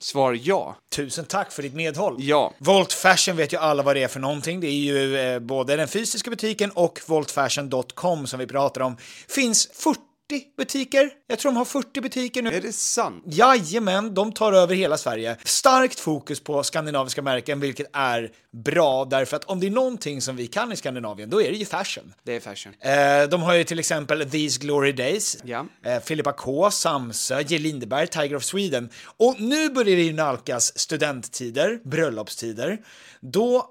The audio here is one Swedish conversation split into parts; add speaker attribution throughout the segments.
Speaker 1: Svar ja.
Speaker 2: Tusen tack för ditt medhåll.
Speaker 1: Ja.
Speaker 2: Volt Fashion vet ju alla vad det är för någonting. Det är ju eh, både den fysiska butiken och voltfashion.com som vi pratar om. Finns 40 butiker. Jag tror de har 40 butiker nu.
Speaker 1: Är det sant?
Speaker 2: Jajamän, de tar över hela Sverige. Starkt fokus på skandinaviska märken, vilket är bra därför att om det är någonting som vi kan i Skandinavien, då är det ju fashion.
Speaker 1: Det är fashion.
Speaker 2: Eh, de har ju till exempel These Glory Days,
Speaker 1: Ja.
Speaker 2: eh, Filippa K, Samsö, J. Lindeberg, Tiger of Sweden. Och nu börjar det ju nalkas studenttider, bröllopstider. Då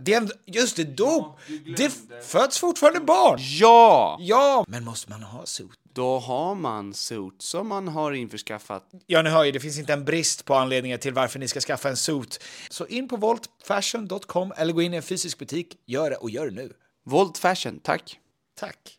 Speaker 2: Det är en, just det, dop! det f- föds fortfarande barn!
Speaker 1: Ja!
Speaker 2: Ja! Men måste man ha suits?
Speaker 1: Då har man suits som man har införskaffat.
Speaker 2: Ja, ni hör ju, det finns inte en brist på anledningar till varför ni ska skaffa en suit. Så in på voltfashion.com eller gå in i en fysisk butik. Gör det och gör det nu.
Speaker 1: Volt fashion, tack.
Speaker 2: Tack!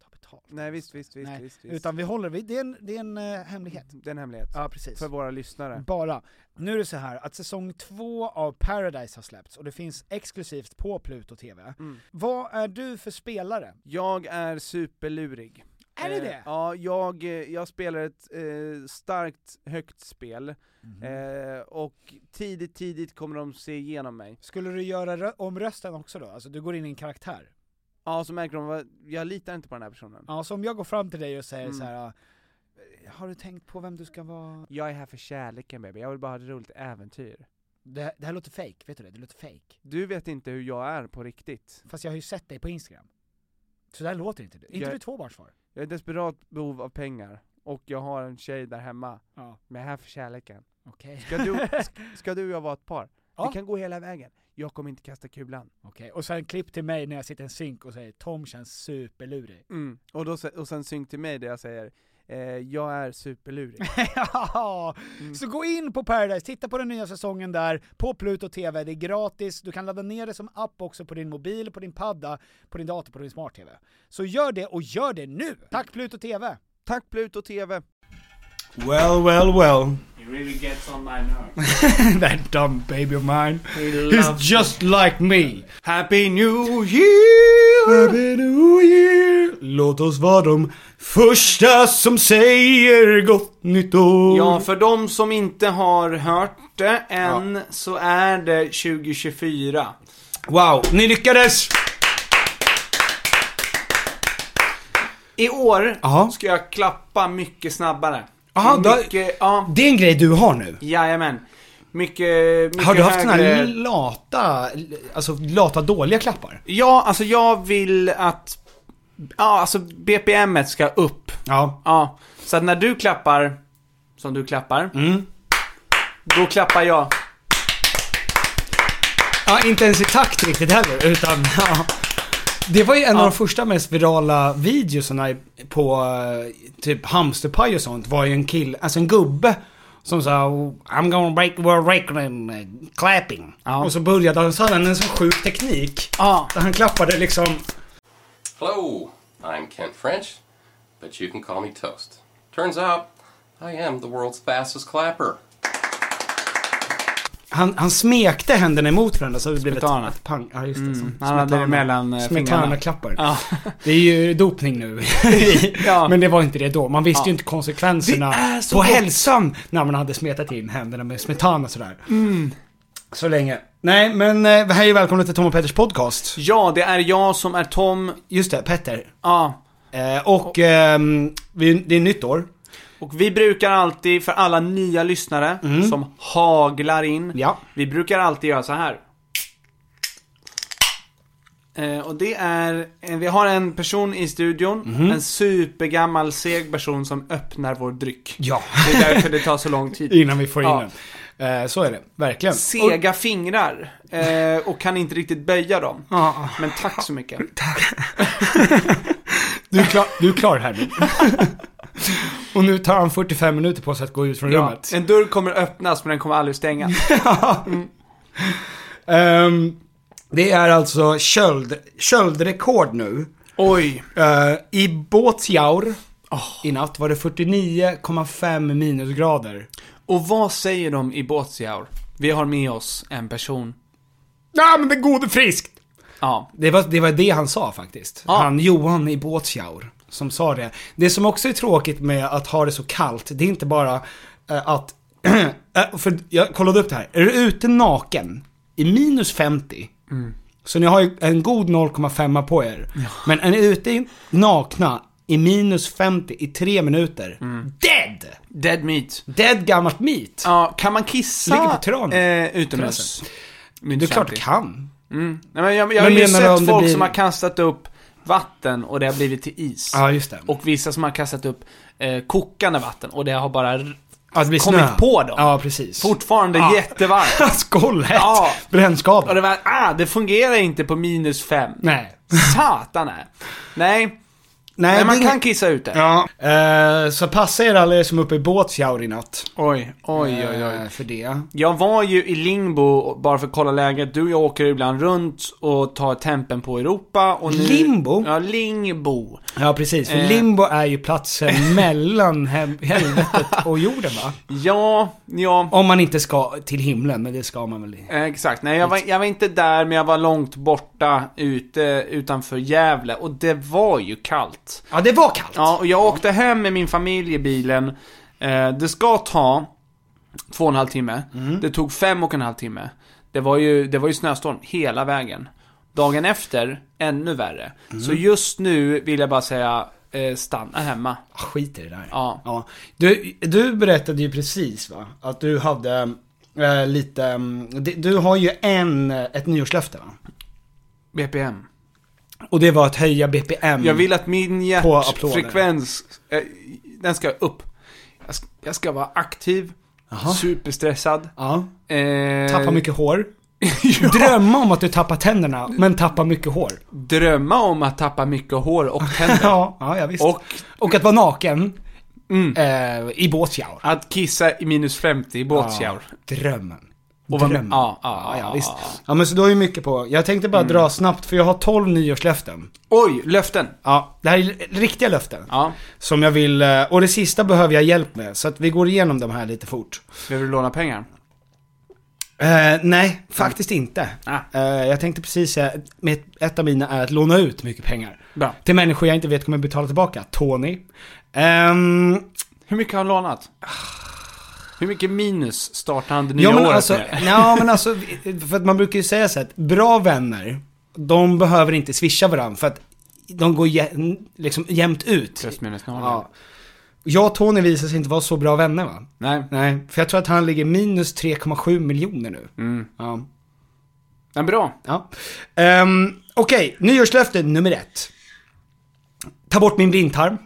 Speaker 3: ta betalt.
Speaker 4: Nej visst, visst, visst.
Speaker 3: Nej,
Speaker 4: visst, visst.
Speaker 3: utan vi håller vid, det är en, det är en eh, hemlighet.
Speaker 4: Det är en hemlighet.
Speaker 3: Ja, precis.
Speaker 4: För våra lyssnare.
Speaker 3: Bara. Nu är det så här att säsong två av Paradise har släppts och det finns exklusivt på Pluto TV. Vad är du för spelare?
Speaker 4: Mm. Jag är superlurig.
Speaker 3: Är det
Speaker 4: Eh,
Speaker 3: det?
Speaker 4: Ja, jag, eh, jag spelar ett eh, starkt, högt spel. Eh, och tidigt, tidigt kommer de se igenom mig.
Speaker 3: Skulle du göra rö- om rösten också då? Alltså du går in i en karaktär?
Speaker 4: Ja, så märker de vad, jag litar inte på den här personen. Mm.
Speaker 3: Ja, så om jag går fram till dig och säger så här. "Ah, har du tänkt på vem du ska vara?
Speaker 4: Jag är här för kärleken baby, jag vill bara ha ett roligt äventyr.
Speaker 3: Det, det här låter fake, vet du det? Det låter fake.
Speaker 4: Du vet inte hur jag är på riktigt.
Speaker 3: Fast jag har ju sett dig på Instagram. Så där låter inte du. Är inte
Speaker 4: Jag-
Speaker 3: du tvåbarnsfar?
Speaker 4: Jag är i desperat behov av pengar. Och jag har en tjej där hemma,
Speaker 3: Ja,
Speaker 4: men jag är här för kärleken.
Speaker 3: okej.
Speaker 4: Ska du, sk- ska du och jag vara ett par?
Speaker 3: Ja.
Speaker 4: Vi kan gå hela vägen. Jag kommer inte kasta kulan.
Speaker 3: Okej, och sen klipp till mig när jag sitter i en synk och säger Tom känns superlurig.
Speaker 4: Mm. Och, då, se- och sen synk till mig där jag säger, eh, jag är superlurig. Mm.
Speaker 3: ja! Så gå in på Paradise, titta på den nya säsongen där, på Pluto TV, det är gratis, du kan ladda ner det som app också på din mobil, på din padda, på din dator, på din smart-TV. Så gör det, och gör det nu! Tack Pluto TV!
Speaker 4: Tack Pluto TV!
Speaker 2: Well, well, well.
Speaker 1: It really gets on my nerves.
Speaker 2: That dumb baby of mine. He's just like me.
Speaker 1: Happy new year!
Speaker 2: Happy New Year. Låt oss vara de första som säger gott nytt år.
Speaker 1: Ja, för de som inte har hört det än så är det 2024.
Speaker 2: Wow, ni lyckades!
Speaker 5: I år
Speaker 2: Jaha.
Speaker 5: ska jag klappa mycket snabbare.
Speaker 2: Jaha, då-
Speaker 5: mycket, ja,
Speaker 2: Det är en grej du har nu.
Speaker 5: jajamän. Mycket, mycket
Speaker 2: Har du haft såna här
Speaker 5: högre-
Speaker 2: lata, alltså lata dåliga klappar?
Speaker 5: Ja, alltså jag vill att... Ja, alltså BPMet ska upp.
Speaker 2: Ja.
Speaker 5: Ja. Så att när du klappar, som du klappar.
Speaker 2: Mm.
Speaker 5: Då klappar jag.
Speaker 2: Ja, inte ens i takt riktigt heller, utan ja. Det var ju en av de första mest virala videosarna på eh, typ hamsterpaj och sånt, var ju en kille, alltså en gubbe som sa I'm gonna break the world record in eh, clapping. Och så började han, så hade han en sån sjuk teknik. Där han klappade liksom
Speaker 6: Hello, I'm Kent French, but you can call me Toast. Turns out, I am the world's fastest clapper.
Speaker 2: Han, han smekte händerna emot varandra så det blev ett,
Speaker 5: Smetana.
Speaker 2: ett pang... Ja, just det. som-
Speaker 5: han hade
Speaker 2: smetana.
Speaker 5: det mellan, eh, fingrarna.
Speaker 2: klappar.
Speaker 5: Ja.
Speaker 2: Det är ju dopning nu. Men det var inte det då. Man visste ju inte konsekvenserna
Speaker 5: Det är så
Speaker 2: på
Speaker 5: gott.
Speaker 2: hälsan när man hade smetat in händerna med smetana sådär.
Speaker 5: Mm.
Speaker 2: Så länge. Nej, men eh, hej och välkomna till Tom och Petters podcast.
Speaker 5: Ja, det är jag som är Tom.
Speaker 2: Just det, Petter.
Speaker 5: Ja.
Speaker 2: Eh, och ehm, vi, det är nytt år.
Speaker 5: Och vi brukar alltid, för alla nya lyssnare
Speaker 2: Mm.
Speaker 5: som haglar in.
Speaker 2: Ja.
Speaker 5: Vi brukar alltid göra så här. Eh, och det är, eh, vi har en person i studion.
Speaker 2: Mm.
Speaker 5: En supergammal seg person som öppnar vår dryck.
Speaker 2: Ja.
Speaker 5: Det är därför det tar så lång tid.
Speaker 2: Innan vi får in
Speaker 5: Ja.
Speaker 2: den. Eh, så är det, verkligen.
Speaker 5: Sega fingrar. Eh, och kan inte riktigt böja dem. Men tack så mycket.
Speaker 2: Du är klar, du är klar här nu. Och nu tar han 45 minuter på sig att gå ut från
Speaker 5: Ja,
Speaker 2: rummet.
Speaker 5: en dörr kommer öppnas men den kommer aldrig stängas.
Speaker 2: Ehm, det är alltså köld, köldrekord nu.
Speaker 5: Oj.
Speaker 2: Eh, I Båtsjaur
Speaker 5: Ah.
Speaker 2: i natt var det 49,5 minusgrader.
Speaker 5: Och vad säger de i Båtsjaur? Vi har med oss en person.
Speaker 2: Nej men det är god och friskt!
Speaker 5: Ja.
Speaker 2: Det var, det var det han sa faktiskt. Han Johan i Båtsjaur som sa det. Det som också är tråkigt med att ha det så kallt, det är inte bara eh, att... eh, för jag kollade upp det här. Är du ute naken i minus 50,
Speaker 5: Mm.
Speaker 2: så ni har ju en god 0,5 på er. Men är ni ute i- nakna i minus 50 i tre minuter, dead!
Speaker 5: Mm. Dead meat.
Speaker 2: Dead gammalt meat.
Speaker 5: Ja, kan man kissa
Speaker 2: Ligger på tran.
Speaker 5: eh, utomhus?
Speaker 2: Terrassen. Det är klart du
Speaker 5: 50.
Speaker 2: kan.
Speaker 5: Nej, men jag, jag har
Speaker 2: Men
Speaker 5: ju
Speaker 2: menar du om
Speaker 5: sett
Speaker 2: det
Speaker 5: folk
Speaker 2: blir-
Speaker 5: som har kastat upp vatten och det har blivit till is.
Speaker 2: Ja, just det.
Speaker 5: Och vissa som har kastat upp eh, kokande vatten och det har bara r-
Speaker 2: Ja, det blir
Speaker 5: kommit
Speaker 2: snö.
Speaker 5: på dem.
Speaker 2: Ja, precis.
Speaker 5: fortfarande
Speaker 2: Ja.
Speaker 5: jättevarmt.
Speaker 2: Skållet!
Speaker 5: Ja.
Speaker 2: Brännskadad.
Speaker 5: Och det var, ah, det fungerar inte på minus fem.
Speaker 2: Nej.
Speaker 5: Satan nej. Nej,
Speaker 2: Nej,
Speaker 5: men man
Speaker 2: det-
Speaker 5: kan kissa ut det.
Speaker 2: Ja. Eh, så passa er alla er som är uppe i Båtsjaur i natt.
Speaker 5: Oj, oj, oj,
Speaker 2: Eh,
Speaker 5: oj.
Speaker 2: för det.
Speaker 5: Jag var ju i Lingbo bara för att kolla läget. Du och jag åker ibland runt och tar tempen på Europa och nu...
Speaker 2: Limbo?
Speaker 5: Ja, Lingbo.
Speaker 2: Ja, precis. För
Speaker 5: Eh.
Speaker 2: limbo är ju platsen mellan hem- helvetet och jorden, va?
Speaker 5: Ja, ja.
Speaker 2: Om man inte ska till himlen, men det ska man väl?
Speaker 5: Eh, Exakt, nej jag var, jag var inte där men jag var långt borta ute utanför Gävle och det var ju kallt.
Speaker 2: Ja, det var kallt.
Speaker 5: Ja, och jag åkte hem med min familj i bilen. Eh, det ska ta två och en halv timme.
Speaker 2: Mm.
Speaker 5: Det tog fem och en halv timme. Det var ju, det var ju snöstorm hela vägen. Dagen efter, ännu värre.
Speaker 2: Mm.
Speaker 5: Så just nu vill jag bara säga, eh, stanna hemma.
Speaker 2: Ah, Skit i det där.
Speaker 5: Ja.
Speaker 2: Du, du berättade ju precis, va? Att du hade eh, lite... mm, det- Du har ju en, ett nyårslöfte, va?
Speaker 5: BPM.
Speaker 2: Och det var att höja BPM.
Speaker 5: Jag vill att min
Speaker 2: På applåder.
Speaker 5: hjärtfrekvens, eh, den ska upp. Jag ska, jag ska vara aktiv, superstressad.
Speaker 2: Ja.
Speaker 5: Eh,
Speaker 2: Tappa mycket hår. Drömma om att du tappar tänderna, men tappa mycket hår.
Speaker 5: Drömma om att tappa mycket hår och tänder.
Speaker 2: Ja, ja, ja visst.
Speaker 5: Och
Speaker 2: Och att vara naken eh, i Båtsjaur.
Speaker 5: Mm. att kissa i minus 50 i båtsjaur.
Speaker 2: Drömmen.
Speaker 5: Och vad-
Speaker 2: Drömmen.
Speaker 5: ja, ja,
Speaker 2: ja,
Speaker 5: ja,
Speaker 2: visst.
Speaker 5: ja. Mm.
Speaker 2: Ja, men så du har ju mycket på. Jag tänkte bara dra snabbt, för jag har 12 nyårslöften.
Speaker 5: Oj, löften.
Speaker 2: Ja, det här är l- riktiga löften.
Speaker 5: Ja,
Speaker 2: Som jag vill, eh, och det sista behöver jag hjälp med, så att vi går igenom de här lite fort.
Speaker 5: behöver du låna pengar?
Speaker 2: Eh, nej, faktiskt inte.
Speaker 5: Ah.
Speaker 2: Eh, jag tänkte precis säga, med ett av mina är att låna ut mycket pengar.
Speaker 5: Bra.
Speaker 2: Till människor jag inte vet kommer betala tillbaka. Tony. Ehm,
Speaker 5: Hur mycket har han lånat? Hur mycket minus startar han det nya
Speaker 2: Ja men
Speaker 5: året
Speaker 2: alltså,
Speaker 5: med?
Speaker 2: ja, men alltså, för att man brukar ju säga så att bra vänner, de behöver inte swisha varandra för att de går jä, liksom jämnt ut.
Speaker 5: Plusminusnormen.
Speaker 2: Ja. Jag och Tony visar sig inte vara så bra vänner va?
Speaker 5: Nej.
Speaker 2: Nej, för jag tror att han ligger minus 3,7 miljoner nu.
Speaker 5: Mm.
Speaker 2: Ja.
Speaker 5: Men bra.
Speaker 2: Ja. Ehm, Okej, nyårslöfte nummer ett. Ta bort min blindtarm.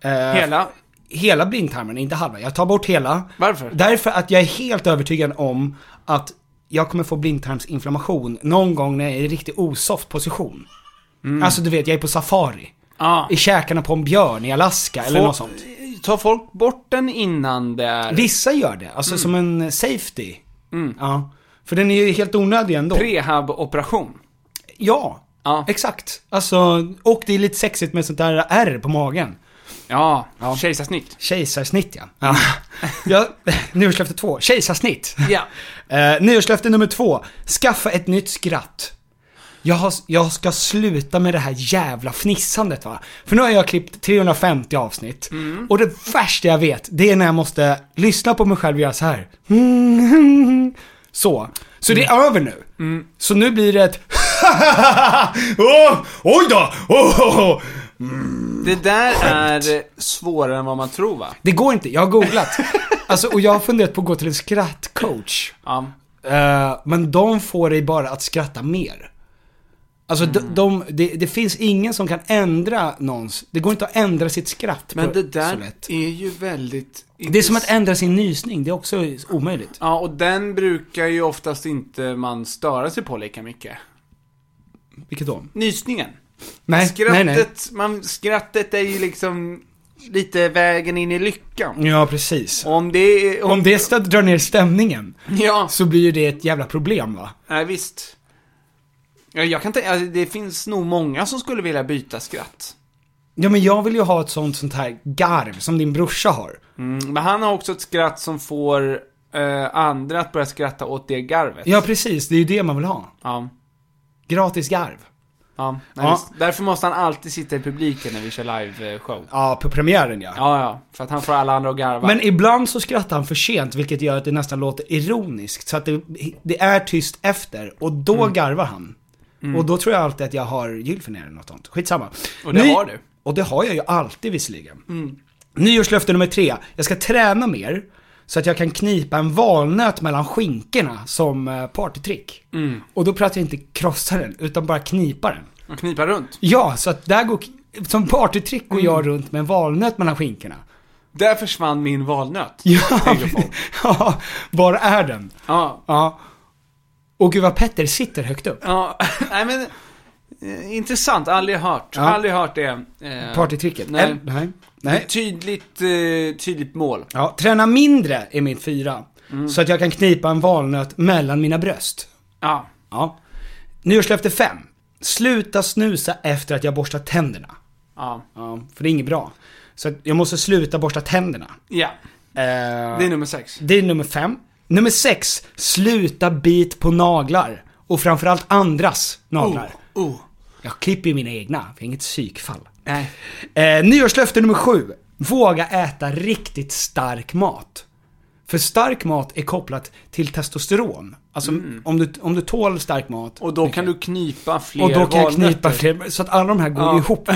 Speaker 2: Eh,
Speaker 5: Hela?
Speaker 2: Hela blindtarmen, inte halva. Jag tar bort hela.
Speaker 5: Varför?
Speaker 2: Därför att jag är helt övertygad om att jag kommer få blindtarmsinflammation någon gång när jag är i riktigt osoft position.
Speaker 5: Mm.
Speaker 2: Alltså du vet, jag är på safari.
Speaker 5: Ah.
Speaker 2: I käkarna på en björn i Alaska eller
Speaker 5: Folk-
Speaker 2: något sånt.
Speaker 5: Tar folk bort den innan det är...
Speaker 2: Vissa gör det, alltså
Speaker 5: Mm.
Speaker 2: som en safety. Ja. För den är ju helt onödig ändå.
Speaker 5: Prehab-operation.
Speaker 2: Ja, exakt. Alltså, och det är lite sexigt med sånt där R på magen.
Speaker 5: Ja, kejsarsnitt.
Speaker 2: Kejsarsnitt ja. ja. ja nyårslöfte två, kejsarsnitt.
Speaker 5: Ja.
Speaker 2: Eh, nyårslöfte nummer två, skaffa ett nytt skratt. Jag, har, jag ska sluta med det här jävla fnissandet va. För nu har jag klippt 350 avsnitt. Och det värsta jag vet, det är när jag måste lyssna på mig själv och göra så här. Så. Så det är över nu. Så nu blir det ett oh, Oj då! Oh, oh, oh.
Speaker 5: Det där är svårare än vad man tror va?
Speaker 2: Det går inte, jag har googlat. Alltså, och jag har funderat på att gå till en skrattcoach.
Speaker 5: Ja.
Speaker 2: Eh, men de får dig bara att skratta mer. Alltså
Speaker 5: Mm.
Speaker 2: de, de, det, det finns ingen som kan ändra någons, det går inte att ändra sitt skratt
Speaker 5: Men
Speaker 2: på,
Speaker 5: det
Speaker 2: så
Speaker 5: där
Speaker 2: lätt.
Speaker 5: är ju väldigt...
Speaker 2: Det är som att ändra sin nysning, det är också omöjligt.
Speaker 5: Ja, och den brukar ju oftast inte man störa sig på lika mycket.
Speaker 2: Vilket då?
Speaker 5: Nysningen.
Speaker 2: Nej,
Speaker 5: skrattet,
Speaker 2: nej, nej.
Speaker 5: Man, skrattet är ju liksom lite vägen in i lyckan.
Speaker 2: Ja, precis.
Speaker 5: Om det är...
Speaker 2: Om, det stä- drar ner stämningen,
Speaker 5: Ja.
Speaker 2: så blir ju det ett jävla problem va?
Speaker 5: Nej, visst. Ja, jag kan tänka, alltså, det finns nog många som skulle vilja byta skratt.
Speaker 2: Ja men jag vill ju ha ett sånt, sånt här garv som din brorsa har.
Speaker 5: Mm, men han har också ett skratt som får eh, andra att börja skratta åt det garvet.
Speaker 2: Ja precis, det är ju det man vill ha.
Speaker 5: Ja.
Speaker 2: Gratis garv.
Speaker 5: Ja, nej,
Speaker 2: Ja.
Speaker 5: visst. Därför måste han alltid sitta i publiken när vi kör live-show.
Speaker 2: Ja, på premiären ja.
Speaker 5: Ja, ja. För att han får alla andra att garva.
Speaker 2: Men ibland så skrattar han för sent, vilket gör att det nästan låter ironiskt. Så att det, det är tyst efter, och då garvar han.
Speaker 5: Mm.
Speaker 2: Och då tror jag alltid att jag har gylfen eller något sånt. Skitsamma.
Speaker 5: Och det har du.
Speaker 2: Och det har jag ju alltid visserligen.
Speaker 5: Mm.
Speaker 2: Nyårslöfte nummer tre. Jag ska träna mer, så att jag kan knipa en valnöt mellan skinkorna som eh, partytrick.
Speaker 5: Mm.
Speaker 2: Och då pratar jag inte krossa den, utan bara knipa den.
Speaker 5: Och knipa runt. Mm.
Speaker 2: Ja, så att där går, som partytrick går jag runt med en valnöt mellan skinkorna.
Speaker 5: Där försvann min valnöt.
Speaker 2: Ja,
Speaker 5: tänker folk.
Speaker 2: ja var är den?
Speaker 5: Ja.
Speaker 2: Ja. Och gud vad Petter sitter högt upp.
Speaker 5: Ja, nej men... eh, Intressant, aldrig hört.
Speaker 2: Ja.
Speaker 5: Aldrig hört det. eh,
Speaker 2: Partytricket.
Speaker 5: Nej.
Speaker 2: Eller- nej.
Speaker 5: nej.
Speaker 2: Nej.
Speaker 5: Tydligt, eh, tydligt mål. Mm.
Speaker 2: Ja, träna mindre är min fyra. Så att jag kan knipa en valnöt mellan mina bröst.
Speaker 5: Ja.
Speaker 2: Ja. Nyårslöfte fem. Sluta snusa efter att jag borstat tänderna.
Speaker 5: Ja.
Speaker 2: Ja, för det är inget bra. Så att jag måste sluta borsta tänderna.
Speaker 5: Ja.
Speaker 2: Eh,
Speaker 5: Det är nummer sex.
Speaker 2: Det är nummer fem. Nummer sex, sluta bit på naglar. Och framförallt andras naglar.
Speaker 5: Oh, oh.
Speaker 2: Jag klipper ju mina egna, för jag är inget psykfall.
Speaker 5: Nej.
Speaker 2: Eh, nyårslöfte nummer sju. Våga äta riktigt stark mat. För stark mat är kopplat till testosteron. Alltså om, du, om du tål stark mat.
Speaker 5: Mm. Och då kan du knipa fler
Speaker 2: och då kan jag knipa
Speaker 5: valnötter.
Speaker 2: fler, så att alla de här går
Speaker 5: Ja.
Speaker 2: ihop.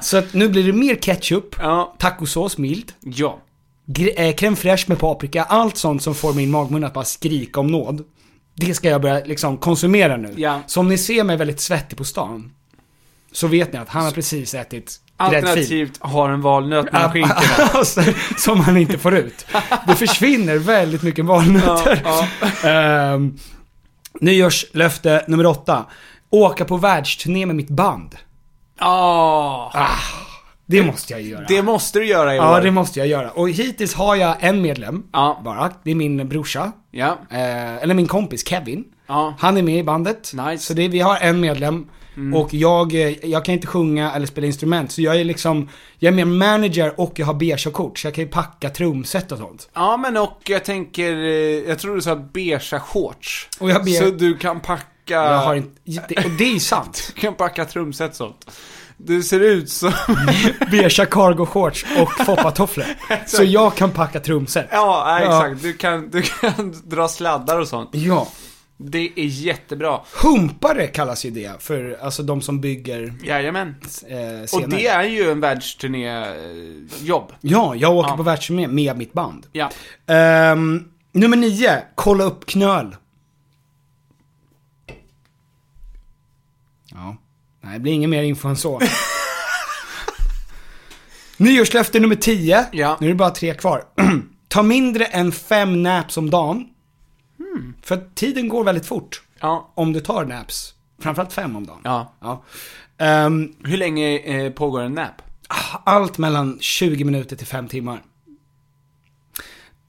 Speaker 2: så att nu blir det mer ketchup,
Speaker 5: Ja.
Speaker 2: tacosås mild,
Speaker 5: Ja.
Speaker 2: gr- eh, crème fraîche med paprika, allt sånt som får min magmun att bara skrika om nåd. Det ska jag börja liksom konsumera nu.
Speaker 5: Ja.
Speaker 2: Så om ni ser mig väldigt svettig på stan, så vet ni att han har precis ätit gräddfil.
Speaker 5: Alternativt har en valnöt mellan skinkorna.
Speaker 2: Alltså, som han inte får ut. Det försvinner väldigt mycket valnötter.
Speaker 5: Ja,
Speaker 2: Ehm, nyårslöfte nummer åtta. Åka på världsturné med mitt band. Ah,
Speaker 5: Ja.
Speaker 2: Det måste jag ju göra.
Speaker 5: Ah. Det måste du göra i år.
Speaker 2: Ja, det måste jag göra. Och hittills har jag en medlem
Speaker 5: Ja.
Speaker 2: bara. Det är min brorsa.
Speaker 5: Ja.
Speaker 2: Eh, eller min kompis Kevin.
Speaker 5: Ja.
Speaker 2: Han är med i bandet.
Speaker 5: Nice. Mm.
Speaker 2: Så det, vi har en medlem. Och jag, eh, jag kan inte sjunga eller spela instrument. Så jag är liksom, jag är mer manager och jag har B-körkort. Så jag kan ju packa trumset och sånt.
Speaker 5: Ja, men och jag tänker, eh, jag tror du sa beigea shorts.
Speaker 2: Och jag be-
Speaker 5: Så du kan packa...
Speaker 2: Jag har inte, det, och det är ju sant.
Speaker 5: Du kan packa trumset sånt. Du ser ut som...
Speaker 2: Beiga cargo shorts och foppatofflor. så jag kan packa trumset.
Speaker 5: ja, nej,
Speaker 2: Ja.
Speaker 5: exakt. Du kan, du kan dra sladdar och sånt.
Speaker 2: Ja.
Speaker 5: Det är jättebra.
Speaker 2: Humpare kallas ju det för alltså de som bygger
Speaker 5: Jajamän.
Speaker 2: eh,
Speaker 5: Och det
Speaker 2: scener.
Speaker 5: är ju en världsturné-jobb.
Speaker 2: Ja, jag åker
Speaker 5: Ja.
Speaker 2: på världsturné med mitt band.
Speaker 5: Ja.
Speaker 2: Ehm, nummer nio, kolla upp knöl. Ja, nej det blir ingen mer info än så. Nyårslöfte nummer 10. Nu är det bara tre kvar. Ta mindre än fem naps om dagen. För att tiden går väldigt fort. Om du tar naps. Framförallt fem om dagen. Ehm,
Speaker 5: Ja. Hur länge eh, pågår en nap?
Speaker 2: Allt mellan 20 minuter till 5 timmar.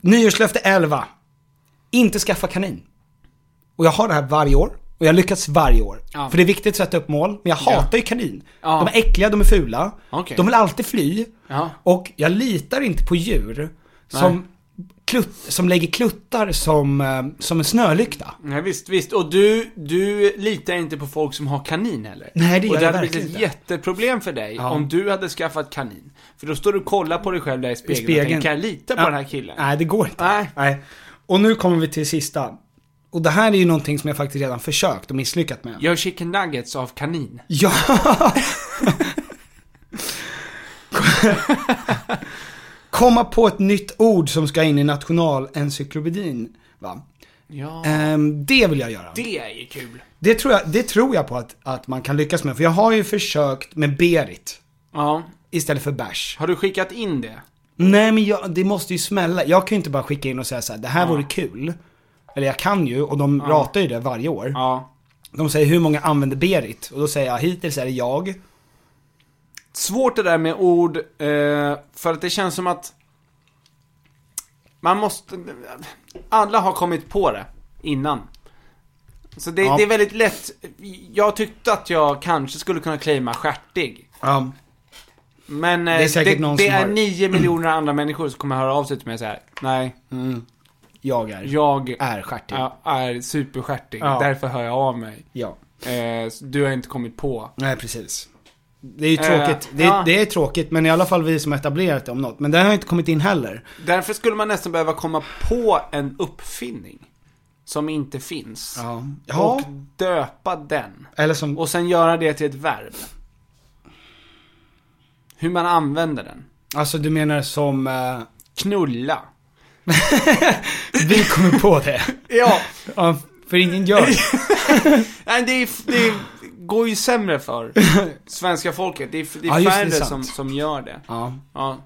Speaker 2: Nyårslöfte 11. Inte skaffa kanin. Och jag har det här varje år. Och jag lyckas varje år.
Speaker 5: Ja.
Speaker 2: För det är viktigt att sätta upp mål. Men jag hatar ju kanin.
Speaker 5: Ja.
Speaker 2: De är äckliga, de är fula.
Speaker 5: Okej.
Speaker 2: De vill alltid fly.
Speaker 5: Ja.
Speaker 2: Och jag litar inte på djur
Speaker 5: Nej.
Speaker 2: som, klutt, som lägger kluttar som, eh, som en snölykta.
Speaker 5: Nej, visst, visst. Och du, du litar inte på folk som har kanin heller.
Speaker 2: Nej, det gör
Speaker 5: Och det
Speaker 2: jag
Speaker 5: hade blivit
Speaker 2: verkligen
Speaker 5: ett
Speaker 2: inte.
Speaker 5: jätteproblem för dig
Speaker 2: Ja.
Speaker 5: om du hade skaffat kanin. För då står du och kollar på dig själv där i spegeln, och tänker, kan jag lita på
Speaker 2: Ja.
Speaker 5: den här killen?
Speaker 2: Nej, det går inte. Nej. Och nu kommer vi till sista. Och det här är ju någonting som jag faktiskt redan försökt och misslyckat med.
Speaker 5: Gör chicken nuggets av kanin.
Speaker 2: Ja! Komma på ett nytt ord som ska in i nationalencyklopedin, va?
Speaker 5: Ja.
Speaker 2: Ehm, det vill jag göra.
Speaker 5: Det är ju kul.
Speaker 2: Det tror jag, det tror jag på att, att man kan lyckas med, för jag har ju försökt med Berit
Speaker 5: Ja.
Speaker 2: istället för bärs.
Speaker 5: Har du skickat in det?
Speaker 2: Nej men jag, det måste ju smälla. Jag kan ju inte bara skicka in och säga så här, det här vore kul. Eller jag kan ju, och de
Speaker 5: Ja.
Speaker 2: ratar ju det varje år. De säger hur många använder Berit? Och då säger jag, hittills är det jag.
Speaker 5: Svårt det där med ord, eh, för att det känns som att man måste... Alla har kommit på det innan. Så det,
Speaker 2: Ja.
Speaker 5: det är väldigt lätt. Jag tyckte att jag kanske skulle kunna claima stjärtig.
Speaker 2: Ja.
Speaker 5: Men eh,
Speaker 2: Det är säkert
Speaker 5: det,
Speaker 2: någon
Speaker 5: det
Speaker 2: som
Speaker 5: är
Speaker 2: har-
Speaker 5: 9 miljoner andra människor som kommer höra av sig till mig så här. Nej.
Speaker 2: Mm. Jag är.
Speaker 5: Jag
Speaker 2: är stjärtig.
Speaker 5: Ja, är superstjärtig.
Speaker 2: Ja.
Speaker 5: Därför hör jag av mig.
Speaker 2: Ja.
Speaker 5: Eh, så du har inte kommit på.
Speaker 2: Nej, precis. Det är ju
Speaker 5: Eh,
Speaker 2: tråkigt. det,
Speaker 5: ja.
Speaker 2: är, det är tråkigt, men i alla fall vi som har etablerat det om något. Men det har inte kommit in heller.
Speaker 5: Därför skulle man nästan behöva komma på en uppfinning. Som inte finns.
Speaker 2: Ja. Ja.
Speaker 5: Och döpa den.
Speaker 2: Eller som...
Speaker 5: Och sen göra det till ett verb. Hur man använder den.
Speaker 2: Alltså du menar som... eh,
Speaker 5: Knulla.
Speaker 2: vi kommer på det.
Speaker 5: Ja.
Speaker 2: ja. För ingen gör det.
Speaker 5: Nej, det, är, det går ju sämre för svenska folket. Det är, det
Speaker 2: Ja,
Speaker 5: är
Speaker 2: just
Speaker 5: färre
Speaker 2: det, sant.
Speaker 5: som, som gör det.
Speaker 2: Ja.
Speaker 5: ja.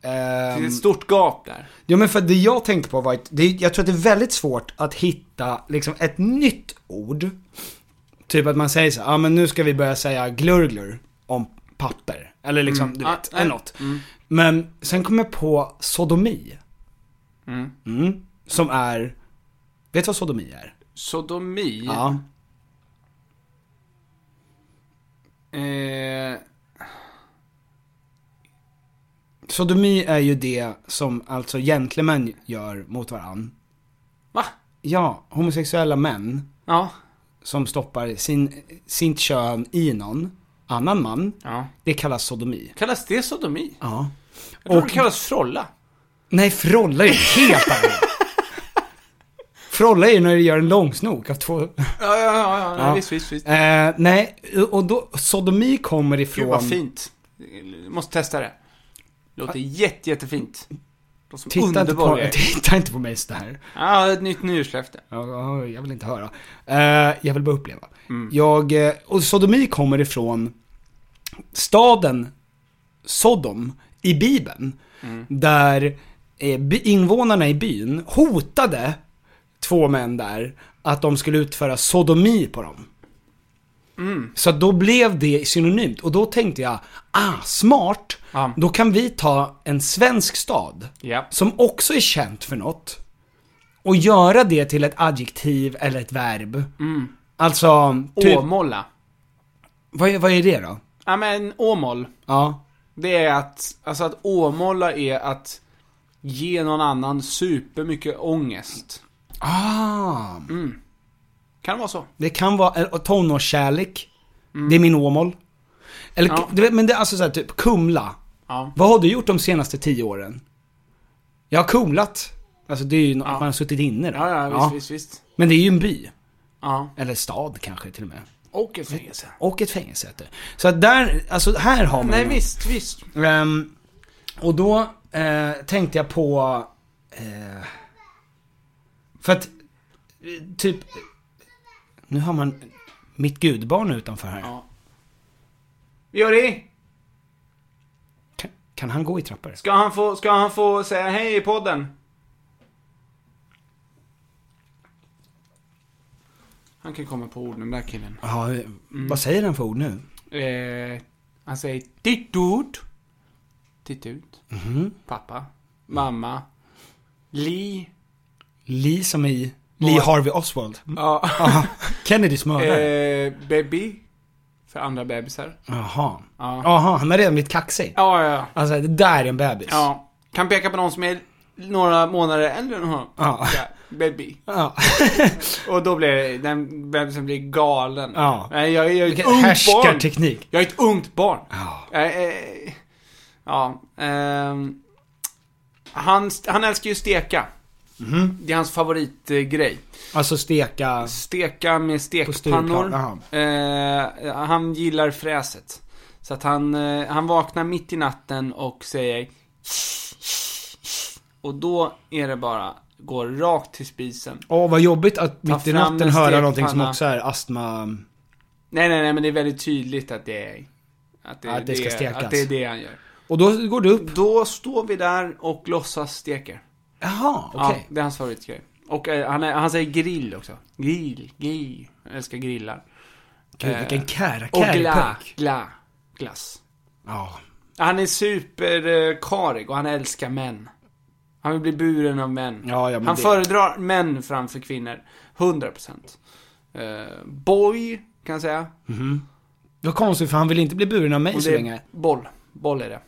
Speaker 5: Det är
Speaker 2: Ehm,
Speaker 5: ett stort gap där.
Speaker 2: Ja men för det jag tänkte på var att, det, jag tror att det är väldigt svårt att hitta liksom ett nytt ord. Typ att man säger så ja ah, men nu ska vi börja säga glurglur om papper. Eller liksom,
Speaker 5: Mm.
Speaker 2: du
Speaker 5: Ja,
Speaker 2: vet,
Speaker 5: nej.
Speaker 2: eller något.
Speaker 5: Mm.
Speaker 2: Men sen kom jag på sodomi.
Speaker 5: Mm.
Speaker 2: Mm. Som är, vet du vad sodomi är?
Speaker 5: Sodomi.
Speaker 2: Ja.
Speaker 5: Eh,
Speaker 2: Sodomi är ju det som alltså gentlemän gör mot varann.
Speaker 5: Va?
Speaker 2: Ja, homosexuella män.
Speaker 5: Ja.
Speaker 2: Som stoppar sin, sitt kön i någon annan man.
Speaker 5: Ja.
Speaker 2: Det kallas sodomi.
Speaker 5: kallas det sodomi?
Speaker 2: Ja.
Speaker 5: Jag tror
Speaker 2: Och-
Speaker 5: det kallas frolla.
Speaker 2: Nej, frolla är ju helt annorlunda. Frolla är ju när du gör en långsnok av två...
Speaker 5: Ja, ja, ja, ja,
Speaker 2: Ja.
Speaker 5: ja. visst, visst, visst.
Speaker 2: Eh, nej, och då, sodomi kommer ifrån...
Speaker 5: Gud vad fint. Måste testa det. Låter jätte, jättefint. Låter som
Speaker 2: Titta inte,
Speaker 5: underbar
Speaker 2: på,
Speaker 5: grej.
Speaker 2: titta inte på mig sådär.
Speaker 5: Ja, ett nytt nyårslöfte.
Speaker 2: Ja, ja, Jag vill inte höra. Eh, jag vill bara uppleva.
Speaker 5: Mm.
Speaker 2: Jag, eh, och sodomi kommer ifrån staden Sodom i Bibeln. Där eh, by- invånarna i byn hotade två män där att de skulle utföra sodomi på dem.
Speaker 5: Mm.
Speaker 2: Så då blev det synonymt och då tänkte jag, ah smart, då kan vi ta en svensk stad
Speaker 5: Ja.
Speaker 2: som också är känt för något och göra det till ett adjektiv eller ett verb.
Speaker 5: Mm.
Speaker 2: Alltså, typ,
Speaker 5: Åmåla.
Speaker 2: vad, är- vad är det då?
Speaker 5: Ja, men åmål.
Speaker 2: Ja.
Speaker 5: Det är att, alltså att åmåla är att ge någon annan supermycket ångest.
Speaker 2: Ah,
Speaker 5: Mm. Kan det vara så? Mm.
Speaker 2: det kan vara eller, och tonårskärlek. Det är min Åmål. Eller,
Speaker 5: Ja.
Speaker 2: du vet, men det är alltså så här, typ Kumla.
Speaker 5: Ja.
Speaker 2: Vad har du gjort de senaste tio åren? Jag har kumlat. Alltså det är ju, nå- att man har suttit inne då.
Speaker 5: Ja, ja, visst, visst, visst.
Speaker 2: Men det är ju en by.
Speaker 7: Eller stad kanske till och med.
Speaker 2: Och ett fängelse.
Speaker 7: Och ett fängelse heter det. Så att där, alltså här har man
Speaker 2: Nej,
Speaker 7: ju-
Speaker 2: visst, visst.
Speaker 7: Ehm, och då eh, tänkte jag på... Eh, för att, eh, typ... Nu har man mitt gudbarn utanför här.
Speaker 2: Jori,
Speaker 7: Kan han gå i trappor?
Speaker 2: ska han få, ska han få säga hej i podden? Han kan komma på ord, den där killen. Mm.
Speaker 7: Ja, vad säger han för ord nu?
Speaker 2: Eh, han säger titt ut. Titt ut.
Speaker 7: Mhm.
Speaker 2: Pappa. Mamma. Li.
Speaker 7: Lee som i... Lee Harvey Oswald.
Speaker 2: Ja.
Speaker 7: Kennedys mördare.
Speaker 2: Eh, baby. För andra bebisar.
Speaker 7: Jaha.
Speaker 2: Ja.
Speaker 7: Jaha, han har redan blivit kaxig.
Speaker 2: Ja, ja, ja.
Speaker 7: Alltså, det där är en bebis.
Speaker 2: Ja. Kan peka på någon som är några månader äldre än honom.
Speaker 7: Ja.
Speaker 2: baby.
Speaker 7: Ja.
Speaker 2: Och då blir det- den bebisen blir galen.
Speaker 7: Ja.
Speaker 2: Nej, jag, jag är ett
Speaker 7: Vilken
Speaker 2: ungt barn.
Speaker 7: härskarteknik.
Speaker 2: Jag är ett ungt barn.
Speaker 7: Ja.
Speaker 2: Eh, eh, ja. ehm. han, han älskar ju steka.
Speaker 7: Mhm.
Speaker 2: Det är hans favoritgrej.
Speaker 7: Alltså steka...
Speaker 2: Steka med
Speaker 7: Stureplan,
Speaker 2: stekpannor. Eh, han gillar fräset. Så att han, eh, han vaknar mitt i natten och säger Och då är det bara, går rakt till spisen.
Speaker 7: Åh, vad jobbigt att
Speaker 2: Ta
Speaker 7: mitt i
Speaker 2: fram
Speaker 7: natten
Speaker 2: en
Speaker 7: höra någonting som
Speaker 2: stekpanna.
Speaker 7: också är astma...
Speaker 2: Nej, nej, nej, men det är väldigt tydligt att det är... Att det, är
Speaker 7: Att det ska stekas.
Speaker 2: Att det är det han gör.
Speaker 7: Och då går du upp?
Speaker 2: Då står vi där och låtsas steker.
Speaker 7: Jaha, okej.
Speaker 2: Ja, det är hans favoritgrej. Och eh, han, är, han säger grill också. Grill, grill. Jag älskar grillar. Eh,
Speaker 7: Gud, vilken kära-
Speaker 2: Och gla,
Speaker 7: kärpunk.
Speaker 2: gla, glass.
Speaker 7: Ja.
Speaker 2: Han är superkarig och han älskar män. Han vill bli buren av män.
Speaker 7: ja, men
Speaker 2: han
Speaker 7: det-
Speaker 2: föredrar män framför kvinnor. 100%. Eh, boy, kan jag säga.
Speaker 7: Mhm. Det var konstigt för han vill inte bli buren av mig
Speaker 2: Och
Speaker 7: så
Speaker 2: det är
Speaker 7: länge. Ah,
Speaker 2: Boll. Boll är det.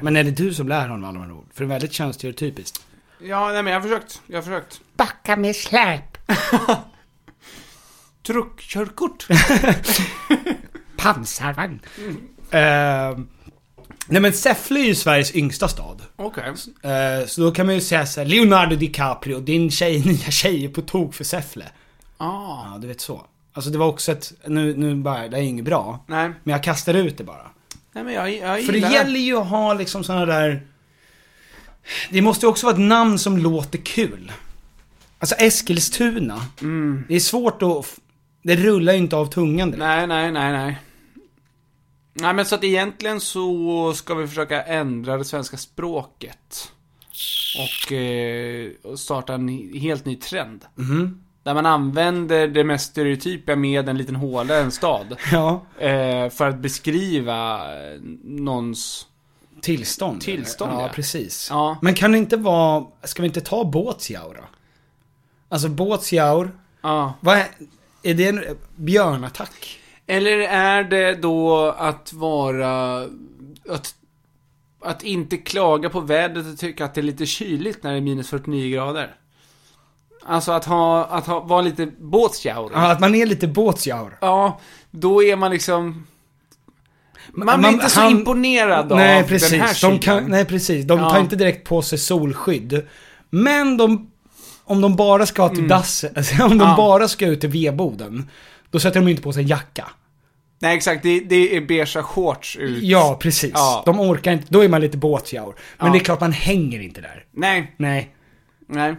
Speaker 7: Men är det du som lär honom alla de här ord? För det är väldigt könsstereotypiskt.
Speaker 2: Ja, nej men jag har försökt. Jag har försökt.
Speaker 7: Backa med släp.
Speaker 2: Truckkörkort.
Speaker 7: Pansarvagn. Ehm, Mm. nej men Säffle är ju Sveriges yngsta stad.
Speaker 2: Okej.
Speaker 7: Eh, så då kan man ju säga såhär, Leonardo DiCaprio, din tjej, nya tjej är på tok för Säffle.
Speaker 2: Ah.
Speaker 7: Ja, du vet så. Alltså det var också ett, nu, nu bara, det är ju inget bra.
Speaker 2: Nej.
Speaker 7: Men jag kastar ut det bara.
Speaker 2: Nej men jag, jag
Speaker 7: För det
Speaker 2: gillar
Speaker 7: gäller ju att ha liksom såna där... Det måste ju också vara ett namn som låter kul. Alltså Eskilstuna.
Speaker 2: Mm.
Speaker 7: Det är svårt att... f- Det rullar ju inte av tungan direkt.
Speaker 2: Nej, nej, nej, nej. Nej men så att egentligen så ska vi försöka ändra det svenska språket. Och, eh, och starta en helt ny trend.
Speaker 7: Mhm.
Speaker 2: Där man använder det mest stereotypa med en liten håla, en stad.
Speaker 7: Ja.
Speaker 2: Eh, för att beskriva eh, någons...
Speaker 7: Tillstånd.
Speaker 2: Tillstånd,
Speaker 7: ja.
Speaker 2: ja.
Speaker 7: precis.
Speaker 2: Ja.
Speaker 7: Men kan det inte vara... Ska vi inte ta Båtsjaur då? Alltså Båtsjaur.
Speaker 2: Ja.
Speaker 7: Vad är... Är det en björnattack?
Speaker 2: Eller är det då att vara... Att, att inte klaga på vädret och tycka att det är lite kyligt när det är minus 49 grader? Alltså att ha, att ha, vara lite båtsjaurig.
Speaker 7: Ja, att man är lite Båtsjaur.
Speaker 2: Ja, då är man liksom... Man, blir inte så
Speaker 7: han-
Speaker 2: imponerad
Speaker 7: nej,
Speaker 2: av
Speaker 7: precis.
Speaker 2: den här
Speaker 7: de
Speaker 2: kylan.
Speaker 7: kan, Nej precis, de tar
Speaker 2: Ja.
Speaker 7: inte direkt på sig solskydd. Men de, om de bara ska till dasset, alltså, om de
Speaker 2: Mm. Ja.
Speaker 7: bara ska ut till vedboden, då sätter de inte på sig en jacka.
Speaker 2: Nej, exakt. Det, det är beigea shorts ut.
Speaker 7: Ja, precis.
Speaker 2: Ja.
Speaker 7: De orkar inte, då är man lite båtjaur. Men
Speaker 2: Ja.
Speaker 7: det är klart man hänger inte där.
Speaker 2: Nej,
Speaker 7: Nej.
Speaker 2: nej.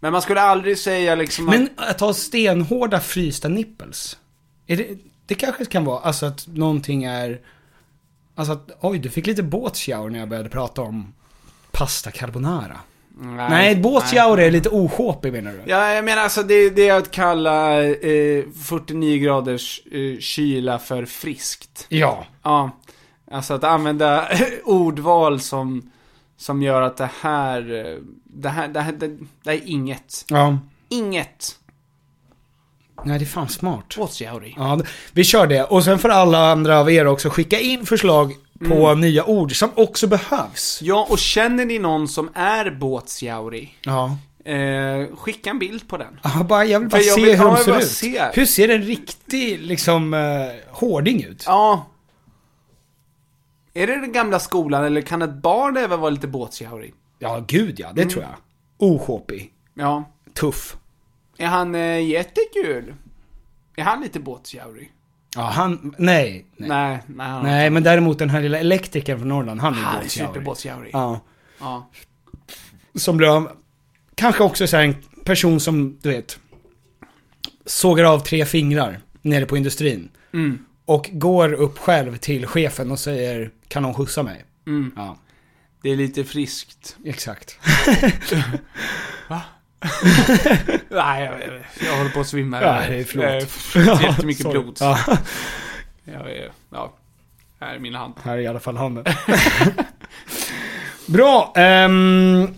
Speaker 2: Men man skulle aldrig säga liksom att...
Speaker 7: Men att ha stenhårda frysta nipples, är det, det kanske kan vara, alltså att någonting är, alltså att, oj du fick lite båtjaur när jag började prata om pasta carbonara. Nej, båtjaur är lite ohåpig menar du?
Speaker 2: Ja, jag menar alltså det, det är att kalla eh, 49 graders eh, kyla för friskt.
Speaker 7: Ja.
Speaker 2: Ja. Alltså att använda ordval som, som gör att det här, eh, det här, det här, det, det här är inget.
Speaker 7: Ja.
Speaker 2: Inget.
Speaker 7: Nej, det är fan smart.
Speaker 2: Båtsjauri.
Speaker 7: Ja, vi kör det. Och sen får alla andra av er också skicka in förslag på nya ord som också behövs.
Speaker 2: Mm. Ja, och känner ni någon som är båtsjauri?
Speaker 7: Ja.
Speaker 2: Eh, skicka en bild på den.
Speaker 7: Ja, bara, jag vill bara
Speaker 2: För jag
Speaker 7: se
Speaker 2: vill-
Speaker 7: hur
Speaker 2: ja,
Speaker 7: de
Speaker 2: jag
Speaker 7: ser
Speaker 2: bara
Speaker 7: ut.
Speaker 2: ser.
Speaker 7: Hur ser en riktig, liksom, eh, hårding ut?
Speaker 2: Ja. Är det den gamla skolan eller kan ett barn även vara lite båtsjauri?
Speaker 7: Ja, gud ja. Det tror jag. Ohåpig.
Speaker 2: Mm. Ja.
Speaker 7: Tuff.
Speaker 5: Är han eh, jättekul? Är han lite båtjaurig?
Speaker 2: Ja, han, nej.
Speaker 5: Nej, nej. nej, han-
Speaker 2: Nej, men däremot den här lilla elektrikern från Norrland, han är
Speaker 5: Han är
Speaker 2: båtjaurig.
Speaker 5: superbåtjaurig.
Speaker 2: Ja.
Speaker 5: Ja.
Speaker 2: Som blev av, kanske också så här en person som, du vet, sågar av tre fingrar nere på industrin.
Speaker 5: Mm.
Speaker 2: Och går upp själv till chefen och säger, kan någon skjutsa mig?
Speaker 5: Mm.
Speaker 2: Ja.
Speaker 5: Det är lite friskt.
Speaker 2: Exakt.
Speaker 5: Va? Nej, jag, jag, jag håller på att svimma.
Speaker 2: Ja, det är förlåt.
Speaker 5: Eh, pff, Jättemycket
Speaker 2: Sorry.
Speaker 5: blod.
Speaker 2: Ja.
Speaker 5: Jag, är- ja. Här är min hand.
Speaker 2: Här är i alla fall handen. Bra, ehm,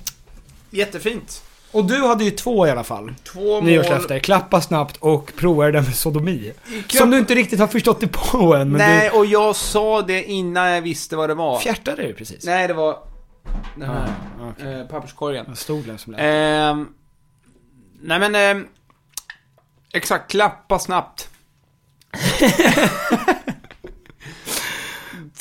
Speaker 5: Jättefint.
Speaker 2: och du hade ju två i alla fall.
Speaker 5: Två mål.
Speaker 2: Nyårslöfte, klappa snabbt och prova det där med sodomi. Som du inte riktigt har förstått det på än. Men
Speaker 5: Nej,
Speaker 2: du...
Speaker 5: och jag sa det innan jag visste vad det var.
Speaker 2: Fjärtade du precis?
Speaker 5: Nej, det var den här
Speaker 2: Ah, okej.
Speaker 5: eh, papperskorgen.
Speaker 2: Stolen som lät.
Speaker 5: Ehm, nej men... ehm, exakt, klappa snabbt.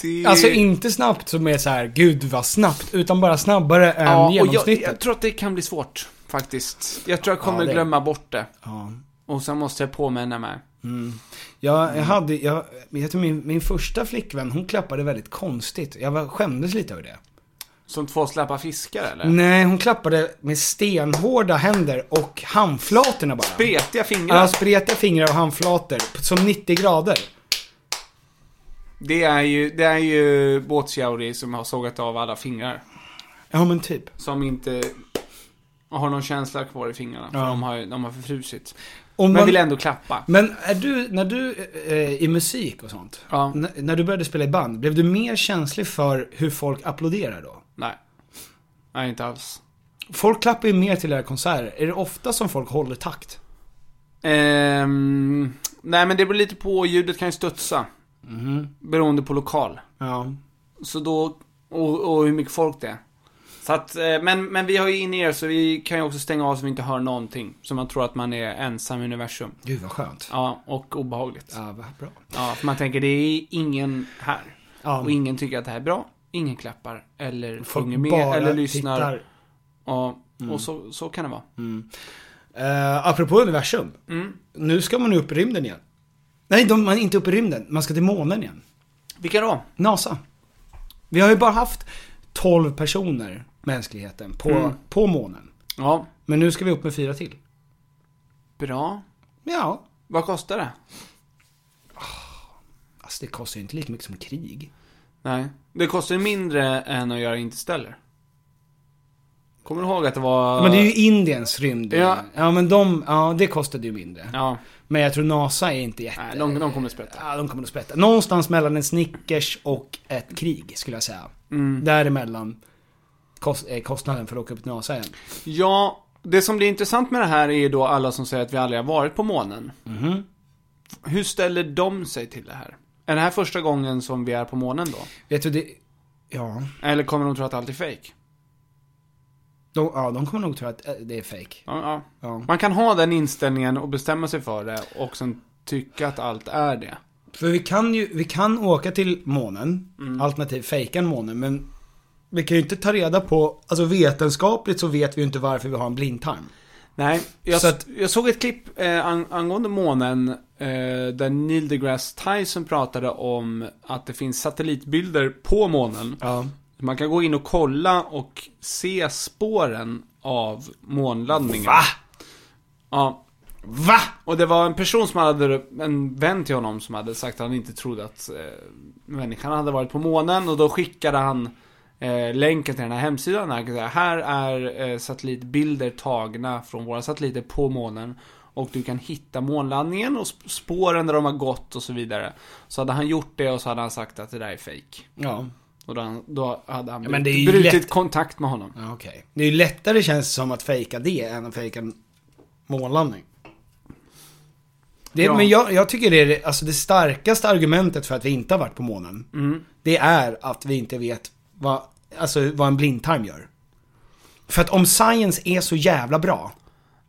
Speaker 5: det...
Speaker 2: Alltså inte snabbt som är så här, gud vad snabbt, utan bara snabbare än
Speaker 5: Ja, och jag,
Speaker 2: genomsnittet.
Speaker 5: jag tror att det kan bli svårt, faktiskt. Jag tror jag kommer
Speaker 2: Ja, det-
Speaker 5: glömma bort det.
Speaker 2: Ja.
Speaker 5: Och sen måste jag påminna mig.
Speaker 2: Mm. Jag, jag hade, jag, jag tror min, min första flickvän, hon klappade väldigt konstigt. Jag var, skämdes lite över det.
Speaker 5: Som två slappa fiskar eller?
Speaker 2: Nej, hon klappade med stenhårda händer och handflatorna bara.
Speaker 5: Spretiga fingrar.
Speaker 2: Ja, spretiga fingrar och handflator. Som 90 grader.
Speaker 5: Det är ju, det är ju båtsjauri som har sågat av alla fingrar.
Speaker 2: Ja, men typ.
Speaker 5: Som inte har någon känsla kvar i fingrarna. För
Speaker 2: Ja.
Speaker 5: de, har, ju- de har förfrusit.
Speaker 2: Om
Speaker 5: men
Speaker 2: man-
Speaker 5: vill ändå klappa.
Speaker 2: Men är du, när du eh, i musik och sånt, n- när du började spela i band, blev du mer känslig för hur folk applåderar då?
Speaker 5: Nej. Nej, inte alls.
Speaker 2: Folk klappar ju mer till era konserter. Är det ofta som folk håller takt?
Speaker 5: Ehm, nej, men det beror lite på. Ljudet kan ju studsa.
Speaker 2: Mhm.
Speaker 5: Beroende på lokal.
Speaker 2: Ja.
Speaker 5: Så då, och, och hur mycket folk det är. Så att, eh, men, men vi har ju in er så vi kan ju också stänga av så vi inte hör någonting. Så man tror att man är ensam i universum.
Speaker 2: Gud vad skönt.
Speaker 5: Ja, och obehagligt.
Speaker 2: Ja, vad bra.
Speaker 5: Ja, för man tänker det är ingen här.
Speaker 2: Ja.
Speaker 5: Och ingen tycker att det här är bra. Ingen klappar eller
Speaker 2: Folk
Speaker 5: sjunger med
Speaker 2: bara
Speaker 5: eller lyssnar.
Speaker 2: tittar.
Speaker 5: Ja,
Speaker 2: Mm.
Speaker 5: och så, så kan det vara.
Speaker 2: Mm. Eh, apropå universum.
Speaker 5: Mm.
Speaker 2: Nu ska man upp i rymden igen. Nej, de, man är inte upp i rymden. Man ska till månen igen.
Speaker 5: Vilka då?
Speaker 2: NASA. Vi har ju bara haft 12 personer, mänskligheten, på,
Speaker 5: Mm.
Speaker 2: på månen.
Speaker 5: Ja.
Speaker 2: Men nu ska vi upp med fyra till.
Speaker 5: Bra.
Speaker 2: Ja.
Speaker 5: Vad kostar det?
Speaker 2: Alltså det kostar ju inte lika mycket som krig.
Speaker 5: Nej. Det kostar ju mindre än att göra Interstellar. Kommer du ihåg att det var...
Speaker 2: Men det är ju Indiens rymd.
Speaker 5: Ja.
Speaker 2: ja men de, ja det kostade ju mindre.
Speaker 5: Ja.
Speaker 2: Men jag tror NASA är inte jätte...
Speaker 5: Nej, de, de kommer att sprätta.
Speaker 2: Ja, de kommer att sprätta. Någonstans mellan en Snickers och ett krig skulle jag säga.
Speaker 5: Mm.
Speaker 2: Däremellan kost, eh, kostnaden för att åka upp till NASA igen.
Speaker 5: Ja, det som blir intressant med det här är ju då alla som säger att vi aldrig har varit på månen.
Speaker 2: Mhm.
Speaker 5: Hur ställer de sig till det här? Är det här första gången som vi är på månen då?
Speaker 2: Vet du det... Ja.
Speaker 5: Eller kommer de tro att allt är fake?
Speaker 2: De, ja, de kommer nog tro att eh, det är fake.
Speaker 5: Ja, ja.
Speaker 2: Ja.
Speaker 5: Man kan ha den inställningen och bestämma sig för det och sen tycka att allt är det.
Speaker 2: För vi kan ju, vi kan åka till månen,
Speaker 5: Mm.
Speaker 2: alternativt fejka månen, men vi kan ju inte ta reda på, alltså vetenskapligt så vet vi ju inte varför vi har en blindtarm.
Speaker 5: Nej, jag,
Speaker 2: Så att-
Speaker 5: jag såg ett klipp eh, an, angående månen eh, där Neil deGrasse Tyson pratade om att det finns satellitbilder på månen. Man kan gå in och kolla och se spåren av månlandningen. Va? Ja.
Speaker 2: Va?
Speaker 5: Och det var en person som hade, en vän till honom som hade sagt att han inte trodde att eh, människan hade varit på månen och då skickade han eh, länken till den här hemsidan. Där han kunde säga, här är eh, satellitbilder tagna från våra satelliter på månen. Och du kan hitta månlandningen och sp- spåren där de har gått och så vidare. Så hade han gjort det och så hade han sagt att det där är fake.
Speaker 2: Ja.
Speaker 5: Och då, han- då hade han
Speaker 2: Ja,
Speaker 5: brutit,
Speaker 2: men det är ju
Speaker 5: brutit
Speaker 2: lätt-
Speaker 5: kontakt med honom.
Speaker 2: Ja, okej. Det är ju lättare känns det som att fejka det än att fejka en månlandning. Det,
Speaker 5: Ja.
Speaker 2: Men jag, jag tycker det är det, alltså det starkaste argumentet för att vi inte har varit på månen.
Speaker 5: Mm.
Speaker 2: Det är att vi inte vet vad, alltså vad en blindtarm gör. För att om science är så jävla bra,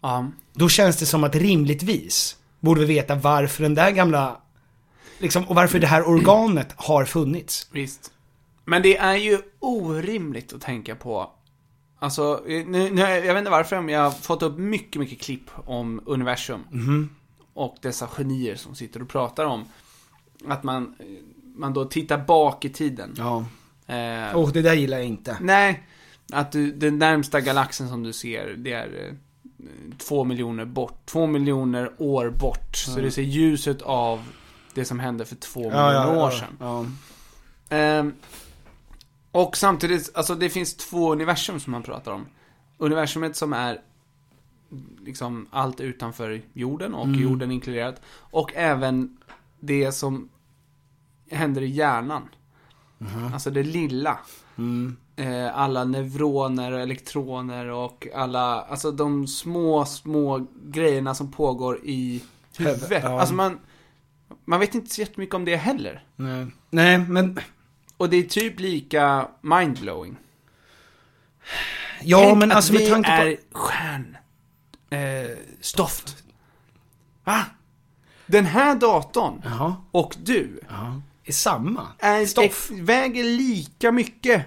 Speaker 5: Ja.
Speaker 2: då känns det som att rimligtvis borde vi veta varför den där gamla, liksom, och varför det här organet har funnits.
Speaker 5: Visst. Men det är ju orimligt att tänka på
Speaker 2: Alltså, eh, nu, nu, jag vet inte varför, men jag har fått upp mycket, mycket klipp om universum.
Speaker 8: Mhm.
Speaker 2: Och dessa genier som sitter och pratar om att man, eh, man då tittar bak i tiden.
Speaker 8: Ja.
Speaker 2: Eh,
Speaker 8: Åh, det där gillar jag inte.
Speaker 2: Nej, att du, den närmsta galaxen som du ser, det är eh, två miljoner bort. Två miljoner år bort. Så
Speaker 8: Mm.
Speaker 2: du ser ljuset av det som hände för två
Speaker 8: Ja, ja,
Speaker 2: miljoner
Speaker 8: ja,
Speaker 2: år sedan. Ehm, och samtidigt, alltså det finns två universum som man pratar om. Universumet som är liksom allt utanför jorden och
Speaker 8: Mm.
Speaker 2: jorden inkluderat. Och även det som händer i hjärnan.
Speaker 8: Mhm.
Speaker 2: Alltså det lilla.
Speaker 8: Mm.
Speaker 2: Eh, alla neuroner och elektroner och alla, alltså de små, små grejerna som pågår i huvudet.
Speaker 8: Ja.
Speaker 2: Alltså man, man vet inte så jättemycket om det heller.
Speaker 8: Nej. Nej, men...
Speaker 2: Och det är typ lika mindblowing.
Speaker 8: Ja,
Speaker 2: Tänk
Speaker 8: men
Speaker 2: att
Speaker 8: alltså med
Speaker 2: vi
Speaker 8: tanke på...
Speaker 2: är stjärn... Eh, stoft. Va? Den här datorn och du
Speaker 8: är samma.
Speaker 2: Är, är, väger lika mycket.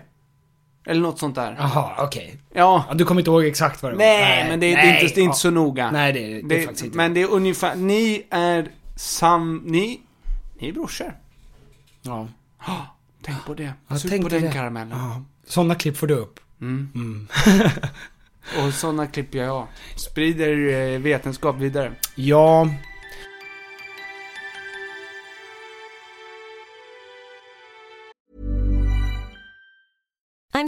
Speaker 2: Eller något sånt där.
Speaker 8: Jaha, okej.
Speaker 2: Ja.
Speaker 8: Du kommer inte ihåg exakt vad det var.
Speaker 2: Nej, men det, är- det är inte, det är
Speaker 8: ja.
Speaker 2: inte så noga.
Speaker 8: Nej, det, är- det är faktiskt inte.
Speaker 2: Men det är ungefär, ni är sam... Ni, ni är brorsor.
Speaker 8: Ja.
Speaker 2: Ah, tänk på det.
Speaker 8: Jag
Speaker 2: Sug på
Speaker 8: tänkte
Speaker 2: den
Speaker 8: det.
Speaker 2: karamellen.
Speaker 8: Ja. Sådana klipp får du upp.
Speaker 2: Mm. Och sådana klipper jag. Sprider eh, vetenskap vidare.
Speaker 8: Ja.
Speaker 9: I'm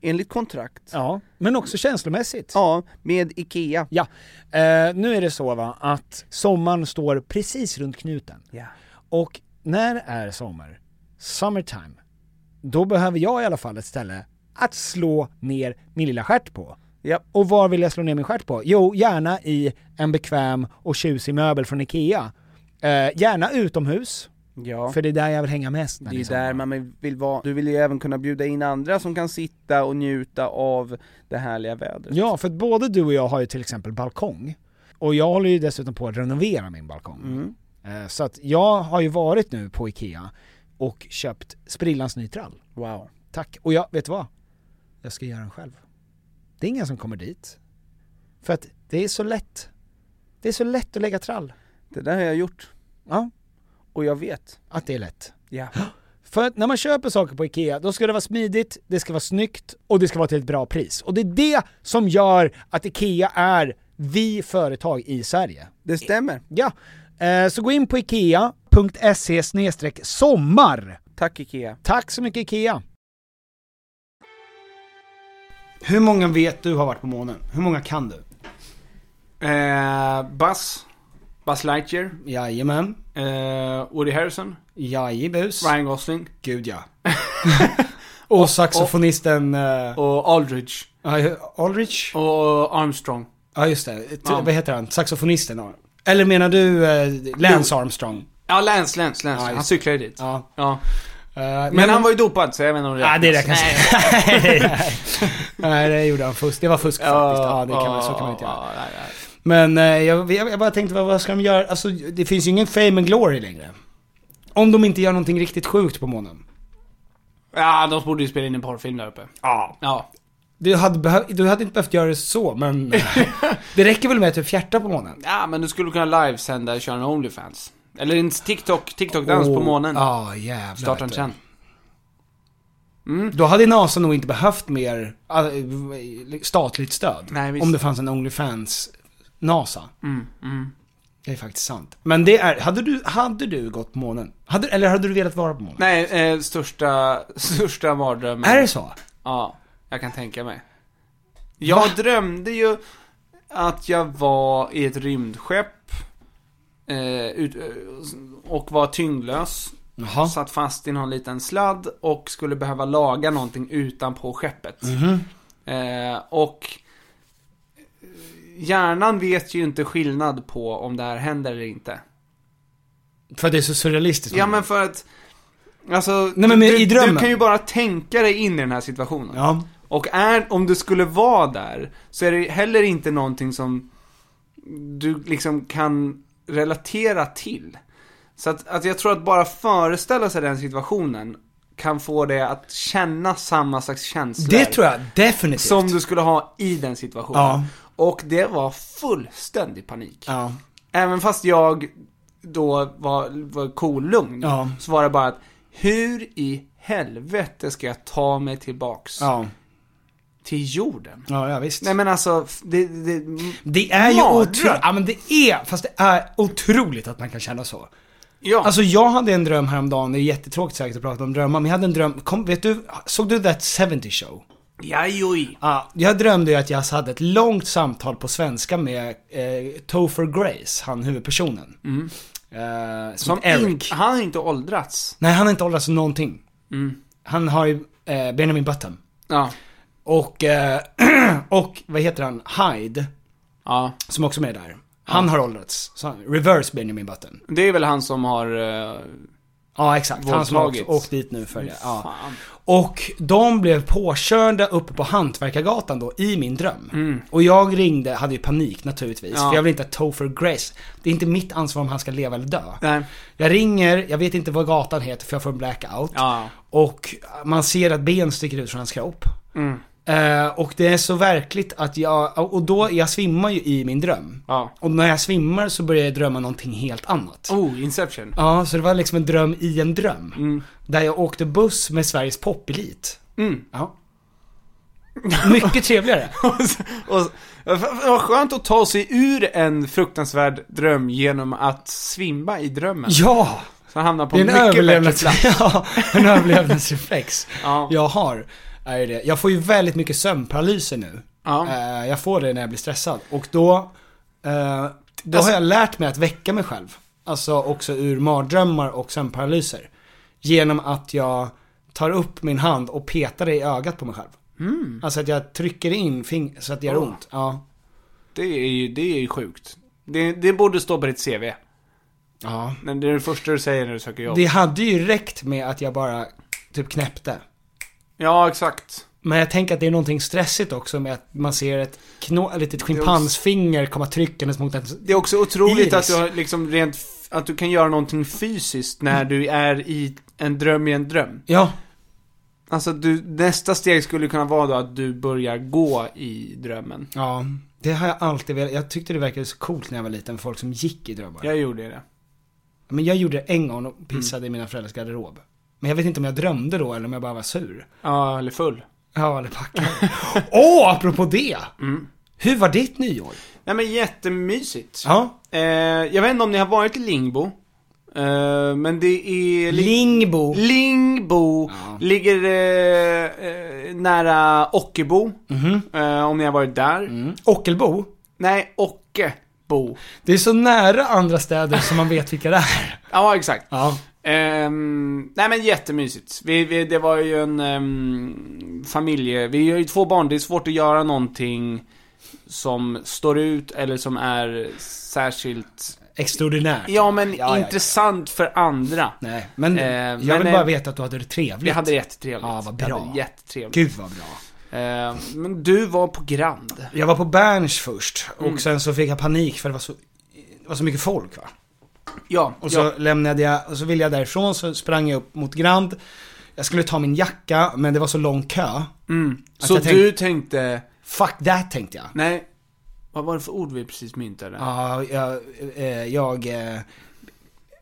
Speaker 10: enligt kontrakt.
Speaker 11: Ja, men också känslomässigt.
Speaker 10: Ja, med IKEA.
Speaker 11: Ja. Eh, nu är det så va, att sommaren står precis runt knuten.
Speaker 10: Ja.
Speaker 11: Och när är sommar? Summertime. Då behöver jag i alla fall ett ställe att slå ner min lilla stjärt på.
Speaker 10: Ja.
Speaker 11: Och var vill jag slå ner min stjärt på? Jo, gärna i en bekväm och tjusig möbel från IKEA. Eh, gärna utomhus,
Speaker 10: Ja.
Speaker 11: för det är där jag vill hänga mest. när
Speaker 10: Det
Speaker 11: det
Speaker 10: är där man vill vara. Du vill ju även kunna bjuda in andra som kan sitta och njuta av det härliga vädret.
Speaker 11: Ja, för att både du och jag har ju till exempel balkong. Och jag håller ju dessutom på att renovera min balkong.
Speaker 10: Mm.
Speaker 11: Eh, Så att jag har ju varit nu på Ikea och köpt sprillans ny trall.
Speaker 10: Wow.
Speaker 11: Tack. Och jag, vet du vad? Jag ska göra den själv. Det är ingen som kommer dit. För att det är så lätt. Det är så lätt att lägga trall.
Speaker 10: Det där har jag gjort.
Speaker 11: Ja.
Speaker 10: Och jag vet.
Speaker 11: Att det är lätt.
Speaker 10: Ja.
Speaker 11: För att när man köper saker på IKEA, då ska det vara smidigt, det ska vara snyggt och det ska vara till ett bra pris. Och det är det som gör att IKEA är vi företag i Sverige.
Speaker 10: Det stämmer.
Speaker 11: Ja. Eh, Så gå in på IKEA.se sommar.
Speaker 10: Tack IKEA.
Speaker 11: Tack så mycket IKEA.
Speaker 8: Hur många vet du har varit på månen? Hur många kan du?
Speaker 2: Eh, Buzz. Buzz Lightyear.
Speaker 8: Jajamän.
Speaker 2: Eh, Woody Harrison.
Speaker 8: Jajibus.
Speaker 2: Ryan Gosling.
Speaker 8: Gud ja. Och saxofonisten...
Speaker 7: eh,
Speaker 8: Och,
Speaker 2: Och Aldridge.
Speaker 8: Aldrich?
Speaker 2: Och Armstrong.
Speaker 8: Ja just det, T-
Speaker 2: Ja.
Speaker 8: vad heter han? Saxofonisten? Eller menar du eh, Lance
Speaker 2: Jo.
Speaker 8: Armstrong?
Speaker 2: Ja, Lance, Lance, Lance.
Speaker 7: Ja,
Speaker 2: han
Speaker 7: just-
Speaker 2: cyklar ju dit. Ja. men,
Speaker 7: men-
Speaker 2: han var ju dopad, så jag vet inte om det
Speaker 7: Nej, det räknas
Speaker 2: Nej.
Speaker 7: inte. Nej, det gjorde han fusk. Det var fusk faktiskt. Ja, det kan man, så kan man inte göra. Men eh, jag, jag, jag bara tänkte, vad, vad ska de göra? Alltså, det finns ju ingen fame and glory längre. Om de inte gör någonting riktigt sjukt på månen.
Speaker 2: Ja, de borde ju spela in en porrfilm där uppe.
Speaker 7: Ja.
Speaker 2: Ja.
Speaker 7: Du hade, behöv, du hade inte behövt göra det så, men... eh, det räcker väl med att du fjärtar på månen?
Speaker 2: Ja, men du skulle kunna livesända och köra en Onlyfans. Eller en TikTok, TikTok-dans på
Speaker 7: Oh,
Speaker 2: månen.
Speaker 7: Ja, jävlar.
Speaker 2: Starta en
Speaker 7: vet du. Mm.
Speaker 2: trend.
Speaker 7: Då hade NASA nog inte behövt mer eh, statligt stöd.
Speaker 2: Nej, visst.
Speaker 7: om det fanns en Onlyfans-NASA.
Speaker 2: Mm, mm.
Speaker 7: Det är faktiskt sant. Men det är, hade du, hade du gått på månen? Hade, eller hade du velat vara på månen?
Speaker 2: Nej, eh, största, största mardrömmen.
Speaker 7: Är det så?
Speaker 2: Ja, jag kan tänka mig. Jag drömde ju att jag var i ett rymdskepp. Eh, ut, eh, och var tyngdlös. Satt fast i någon liten sladd och skulle behöva laga någonting utanpå skeppet.
Speaker 7: Mhm.
Speaker 2: Eh, och hjärnan vet ju inte skillnad på om det här händer eller inte.
Speaker 7: För att det är så surrealistiskt.
Speaker 2: Ja men för att, alltså,
Speaker 7: Nej, men med-
Speaker 2: du,
Speaker 7: i drömmen.
Speaker 2: du kan ju bara tänka dig in i den här situationen. Och är, om du skulle vara där, så är det heller inte någonting som du liksom kan relatera till. Så att, att jag tror att bara föreställa sig den situationen kan få dig att känna samma slags känslor.
Speaker 7: Det tror jag definitivt.
Speaker 2: Som du skulle ha i den situationen.
Speaker 7: Ja.
Speaker 2: Och det var fullständig panik. Även fast jag då var, var kolugn,
Speaker 7: Ja.
Speaker 2: så var det bara att hur i helvete ska jag ta mig tillbaks
Speaker 7: Ja.
Speaker 2: till jorden?
Speaker 7: Ja, ja visst.
Speaker 2: Nej men alltså, f- det... Det,
Speaker 7: Det är ju
Speaker 2: Mardröm.
Speaker 7: otroligt. Ja men det är, fast det är otroligt att man kan känna så.
Speaker 2: Ja.
Speaker 7: Alltså jag hade en dröm häromdagen, det är jättetråkigt säkert att prata om drömmar, men jag hade en dröm, kom, vet du, såg du That 70 Show?
Speaker 2: Jajoj.
Speaker 7: Ja, jag drömde ju att jag hade ett långt samtal på svenska med eh, Topher Grace, han huvudpersonen.
Speaker 2: Mm.
Speaker 7: Eh, som
Speaker 2: Som
Speaker 7: Eric.
Speaker 2: in, han har inte åldrats.
Speaker 7: Nej, han har inte åldrats någonting.
Speaker 2: Mm.
Speaker 7: Han har ju eh, Benjamin Button.
Speaker 2: Ja.
Speaker 7: Och, eh, och vad heter han? Hyde.
Speaker 2: Ja.
Speaker 7: Som också är med där. Han
Speaker 2: Ja.
Speaker 7: har åldrats. Så han- Reverse Benjamin Button.
Speaker 2: Det är väl han som har... eh,
Speaker 7: Ja, exakt. Han som
Speaker 2: Våldtagits.
Speaker 7: har åkt dit nu för det. Ja.
Speaker 2: Fan.
Speaker 7: Och de blev påkörda uppe på Hantverkargatan då, i min dröm.
Speaker 2: Mm.
Speaker 7: Och jag ringde, hade ju panik naturligtvis,
Speaker 2: Ja.
Speaker 7: för jag vill inte att Topher Grace, det är inte mitt ansvar om han ska leva eller dö.
Speaker 2: Nej.
Speaker 7: Jag ringer, jag vet inte vad gatan heter för jag får en blackout.
Speaker 2: Ja.
Speaker 7: Och man ser att ben sticker ut från hans kropp.
Speaker 2: Mm.
Speaker 7: Eh, och det är så verkligt att jag, och då, jag svimmar ju i min dröm.
Speaker 2: Ja.
Speaker 7: Och när jag svimmar så börjar jag drömma någonting helt annat.
Speaker 2: Oh, Inception.
Speaker 7: Ja, så det var liksom en dröm i en dröm. Där jag åkte buss med Sveriges popelit.
Speaker 2: Mm.
Speaker 7: Ja. Mycket trevligare.
Speaker 2: Och, vad skönt att ta sig ur en fruktansvärd dröm genom att svimma i drömmen.
Speaker 7: Ja!
Speaker 2: Så hamnar på
Speaker 7: Det är en
Speaker 2: mycket
Speaker 7: överlevnads-
Speaker 2: bättre plats.
Speaker 7: ja, en överlevnadsreflex
Speaker 2: Ja.
Speaker 7: jag har. Är ju det. Jag får ju väldigt mycket sömnparalyser nu.
Speaker 2: Ja.
Speaker 7: Eh, Jag får det när jag blir stressad. Och då, eh, då har
Speaker 2: Alltså-
Speaker 7: jag lärt mig att väcka mig själv. Alltså också ur mardrömmar och sömnparalyser. Genom att jag tar upp min hand och petar det i ögat på mig själv.
Speaker 2: Mm.
Speaker 7: Alltså att jag trycker in fing- så att det gör
Speaker 2: Ja.
Speaker 7: ont. Ja.
Speaker 2: Det är ju, det är ju sjukt. Det, det borde stå på ditt CV.
Speaker 7: Ja.
Speaker 2: Men det är det första du säger när du söker jobb.
Speaker 7: Det hade ju räckt med att jag bara typ knäppte.
Speaker 2: Ja, exakt.
Speaker 7: Men jag tänker att det är någonting stressigt också med att man ser ett, knå, ett litet schimpansfinger komma tryckandes mot ens
Speaker 2: Det är också otroligt
Speaker 7: Iris.
Speaker 2: att du har liksom rent, f- att du kan göra någonting fysiskt när du är i en dröm i en dröm.
Speaker 7: Ja.
Speaker 2: Alltså du, nästa steg skulle kunna vara då att du börjar gå i drömmen.
Speaker 7: Ja, det har jag alltid velat. Jag tyckte det verkade så coolt när jag var liten, folk som gick i drömmar.
Speaker 2: Jag gjorde det. Mm.
Speaker 7: Men jag gjorde det en gång och pissade i mina föräldrars garderob. Men jag vet inte om jag drömde då eller om jag bara var sur.
Speaker 2: Ja, eller full.
Speaker 7: Ja, eller packad. Åh, apropå det! Hur var ditt nyår?
Speaker 2: Nej men jättemysigt.
Speaker 7: Ja.
Speaker 2: Eh, jag vet inte om ni har varit i Lingbo. Eh, men det är... li-
Speaker 7: Lingbo.
Speaker 2: Lingbo ligger eh, eh, nära Ockelbo.
Speaker 7: Mhm. Mm.
Speaker 2: Eh, om ni har varit där.
Speaker 7: Ockelbo?
Speaker 2: Nej, Ockebo.
Speaker 7: Det är så nära andra städer som man vet vilka det är.
Speaker 2: Ja, exakt.
Speaker 7: Ja.
Speaker 2: Ehm, nej men jättemysigt. Vi, vi, det var ju en um, familje... Vi är ju två barn, det är svårt att göra någonting som står ut eller som är särskilt extraordinärt.
Speaker 5: Ja, men intressant för andra.
Speaker 2: Nej, Ehm, men
Speaker 5: Eh,
Speaker 2: jag
Speaker 5: men,
Speaker 2: vill bara
Speaker 5: eh,
Speaker 2: veta att du hade det trevligt.
Speaker 5: Jag hade jättetrevligt.
Speaker 2: Ja, vad
Speaker 5: Jag
Speaker 2: bra.
Speaker 5: hade jättetrevligt.
Speaker 2: Gud vad bra.
Speaker 5: Eh,
Speaker 2: Ehm,
Speaker 5: men du var på Grand.
Speaker 2: Jag var på Berns först och
Speaker 5: Mm.
Speaker 2: sen så fick jag panik för det var så, det var så mycket folk va.
Speaker 5: Ja,
Speaker 2: Och så
Speaker 5: ja.
Speaker 2: lämnade jag, och så ville jag därifrån så sprang jag upp mot Grand. Jag skulle ta min jacka men det var så lång kö.
Speaker 5: Mm.
Speaker 2: Att
Speaker 5: Så
Speaker 2: jag tänk-
Speaker 5: du tänkte...
Speaker 2: Fuck that tänkte jag.
Speaker 5: Nej. Vad var det för ord vi precis myntade?
Speaker 2: Ja, jag, eh, jag eh,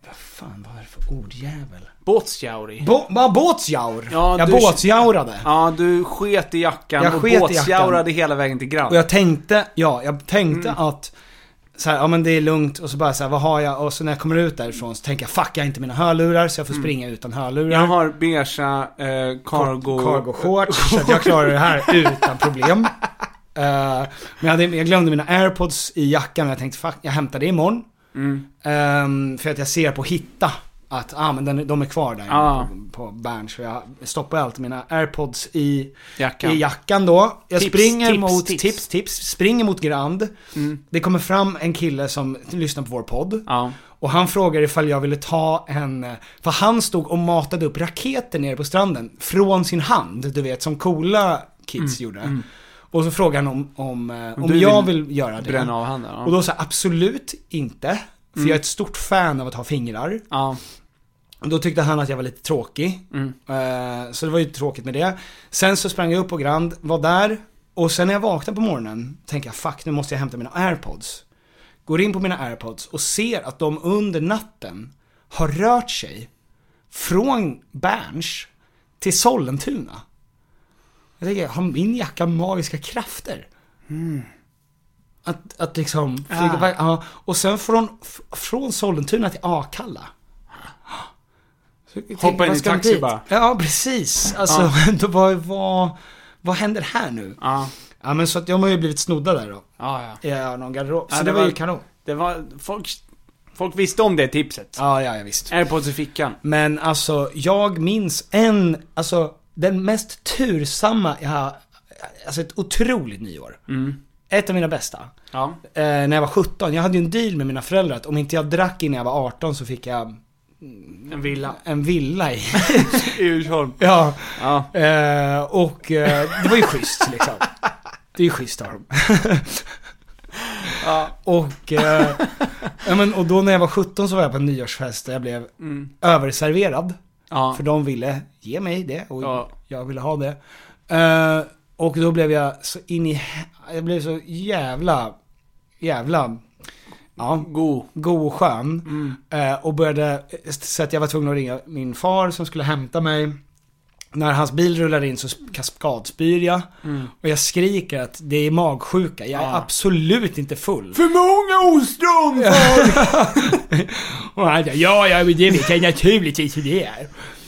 Speaker 2: vad fan var det för ordjävel?
Speaker 5: Båtsjauri.
Speaker 2: Bå, ja, båtsjaur!
Speaker 5: Ja,
Speaker 2: jag
Speaker 5: du-
Speaker 2: båtsjaurade.
Speaker 5: Ja, du sket i jackan
Speaker 2: Jag
Speaker 5: och
Speaker 2: sket i jackan.
Speaker 5: båtsjaurade hela vägen till Grand.
Speaker 2: Och jag tänkte, ja, jag tänkte att så här, ja men det är lugnt och så bara så här, vad har jag? Och så när jag kommer ut därifrån så tänker jag, fuck jag har inte mina hörlurar så jag får springa utan hörlurar.
Speaker 5: Jag har beiga eh, cargo...
Speaker 2: cargo shorts så att jag klarar det här utan problem. Eh, men jag, hade, jag glömde mina airpods i jackan och jag tänkte, fuck jag hämtar det imorgon.
Speaker 5: Mm.
Speaker 2: Ehm, för att jag ser på hitta att ah, men den, de är kvar där
Speaker 5: Ah.
Speaker 2: på, på Berns. Så jag stoppar alltid mina airpods i
Speaker 5: Jackan.
Speaker 2: i jackan då. Jag
Speaker 5: Tips,
Speaker 2: springer
Speaker 5: tips,
Speaker 2: mot,
Speaker 5: tips.
Speaker 2: tips. tips, springer mot Grand.
Speaker 5: Mm.
Speaker 2: Det kommer fram en kille som lyssnar på vår podd.
Speaker 5: Ja.
Speaker 2: Och han frågar ifall jag ville ta en, för han stod och matade upp raketer nere på stranden från sin hand, du vet som coola kids gjorde.
Speaker 5: mm.
Speaker 2: Och så frågar han om, om, eh, om,
Speaker 5: du
Speaker 2: jag
Speaker 5: vill
Speaker 2: vill, göra det.
Speaker 5: bränna av handen, ja.
Speaker 2: Och då sa jag absolut inte, för
Speaker 5: Mm.
Speaker 2: jag är ett stort fan av att ha fingrar.
Speaker 5: Ja.
Speaker 2: Och då tyckte han att jag var lite tråkig.
Speaker 5: Mm.
Speaker 2: Eh, Så det var ju tråkigt med det. Sen så sprang jag upp på Grand, var där. Och sen när jag vaknade på morgonen tänkte jag fuck nu måste jag hämta mina airpods. Går in på mina airpods och ser att de under natten har rört sig från Berns till Sollentuna. Jag tänker, har min jacka magiska krafter? Att, att liksom flyga
Speaker 5: Ah.
Speaker 2: iväg. Ja. Och sen från, f- från Sollentuna till Akalla. Så jag tänkte,
Speaker 5: Hoppa in
Speaker 2: vad
Speaker 5: i
Speaker 2: ska man
Speaker 5: taxi
Speaker 2: dit?
Speaker 5: bara.
Speaker 2: Ja, precis. Alltså,
Speaker 5: Ja.
Speaker 2: då var, vad, vad händer här nu?
Speaker 5: Ja.
Speaker 2: Ja, Eh, men så att de har ju blivit snodda där då.
Speaker 5: Ja, Ah. ja.
Speaker 2: Ja, någon garderob. Så
Speaker 5: Ja,
Speaker 2: det, var, ju kanon.
Speaker 5: Det var... Folk, folk visste om det tipset.
Speaker 2: Ja, ja, ja visst.
Speaker 5: Airpods i fickan.
Speaker 2: Men alltså, jag minns en, alltså den mest tursamma, jag har, alltså ett otroligt nyår.
Speaker 5: Mm.
Speaker 2: Ett av mina bästa.
Speaker 5: Ja.
Speaker 2: Eh, när jag var 17, jag hade ju en deal med mina föräldrar att om inte jag drack innan jag var 18 så fick jag
Speaker 5: En villa.
Speaker 2: en villa i...
Speaker 5: I Djursholm.
Speaker 2: ja.
Speaker 5: Ja.
Speaker 2: Eh, och eh, det var ju schysst liksom. Det är ju schysst av dem.
Speaker 5: Ja.
Speaker 2: Och, eh, ja, men, och då när jag var 17 så var jag på en nyårsfest där jag blev
Speaker 5: Mm.
Speaker 2: överserverad.
Speaker 5: Ja.
Speaker 2: För de ville ge mig det och
Speaker 5: Ja.
Speaker 2: jag ville ha det. Eh, och då blev jag så in i... hä- Jag blev så jävla, jävla... Ja,
Speaker 5: god.
Speaker 2: God och skön.
Speaker 5: Mm.
Speaker 2: Eh, och började... Så att jag var tvungen att ringa min far som skulle hämta mig. När hans bil rullar in så kaskadspyr jag.
Speaker 5: Mm.
Speaker 2: Och jag skriker att det är magsjuka. Jag är
Speaker 5: Ja.
Speaker 2: absolut inte full.
Speaker 5: För många ostron!
Speaker 2: Och han säger ja, ja, men det vet jag naturligtvis hur det är.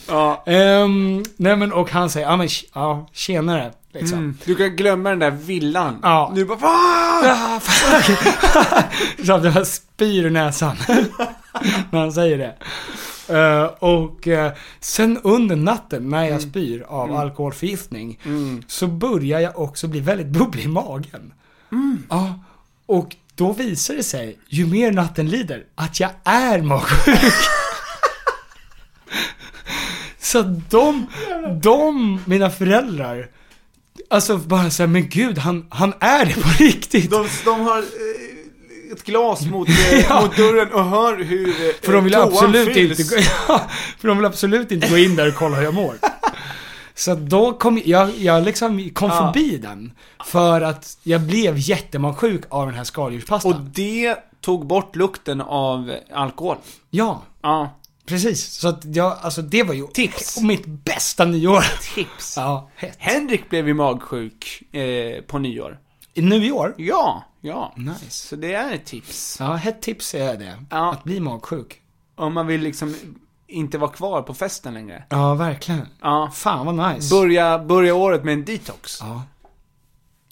Speaker 5: Ja.
Speaker 2: Um, nej men och han säger, ja men tj- ja, tjenare. Liksom.
Speaker 5: Mm. Du kan glömma den där villan.
Speaker 2: Ja.
Speaker 5: Du bara fan!
Speaker 2: Ah, fuck! Så att jag spyr ur näsan. när han säger det. Eh, och eh, sen under natten när jag spyr av alkoholförgiftning
Speaker 5: Mm.
Speaker 2: så börjar jag också bli väldigt bubblig i magen. Ja, och då visar det sig, ju mer natten lider, att jag är magsjuk. så de, de, mina föräldrar, alltså bara såhär, men gud, han, han är det på riktigt.
Speaker 5: De, de har eh, ett glas mot, eh,
Speaker 2: Ja.
Speaker 5: mot dörren och hör hur eh,
Speaker 2: För de vill
Speaker 5: toan
Speaker 2: absolut
Speaker 5: fylls.
Speaker 2: inte, gå- ja, för de vill absolut inte gå in där och kolla hur jag mår. Så att då kom jag, jag liksom kom
Speaker 5: Ja.
Speaker 2: förbi den. För att jag blev jättemagsjuk av den här skaldjurspastan.
Speaker 5: Och det tog bort lukten av alkohol.
Speaker 2: Ja,
Speaker 5: Ja.
Speaker 2: precis. Så att jag, alltså det var ju
Speaker 5: Tips.
Speaker 2: och mitt bästa nyår.
Speaker 5: Tips.
Speaker 2: Ja, hett.
Speaker 5: Henrik blev ju magsjuk eh, på nyår.
Speaker 2: Nu i år?
Speaker 5: Ja, ja.
Speaker 2: Nice.
Speaker 5: Så det är ett tips.
Speaker 2: Ja, hett tips är det.
Speaker 5: Ja.
Speaker 2: Att bli magsjuk.
Speaker 5: Om man vill liksom inte vara kvar på festen längre.
Speaker 2: Ja, verkligen.
Speaker 5: Ja.
Speaker 2: Fan vad nice.
Speaker 5: Börja, börja året med en detox.
Speaker 2: ja.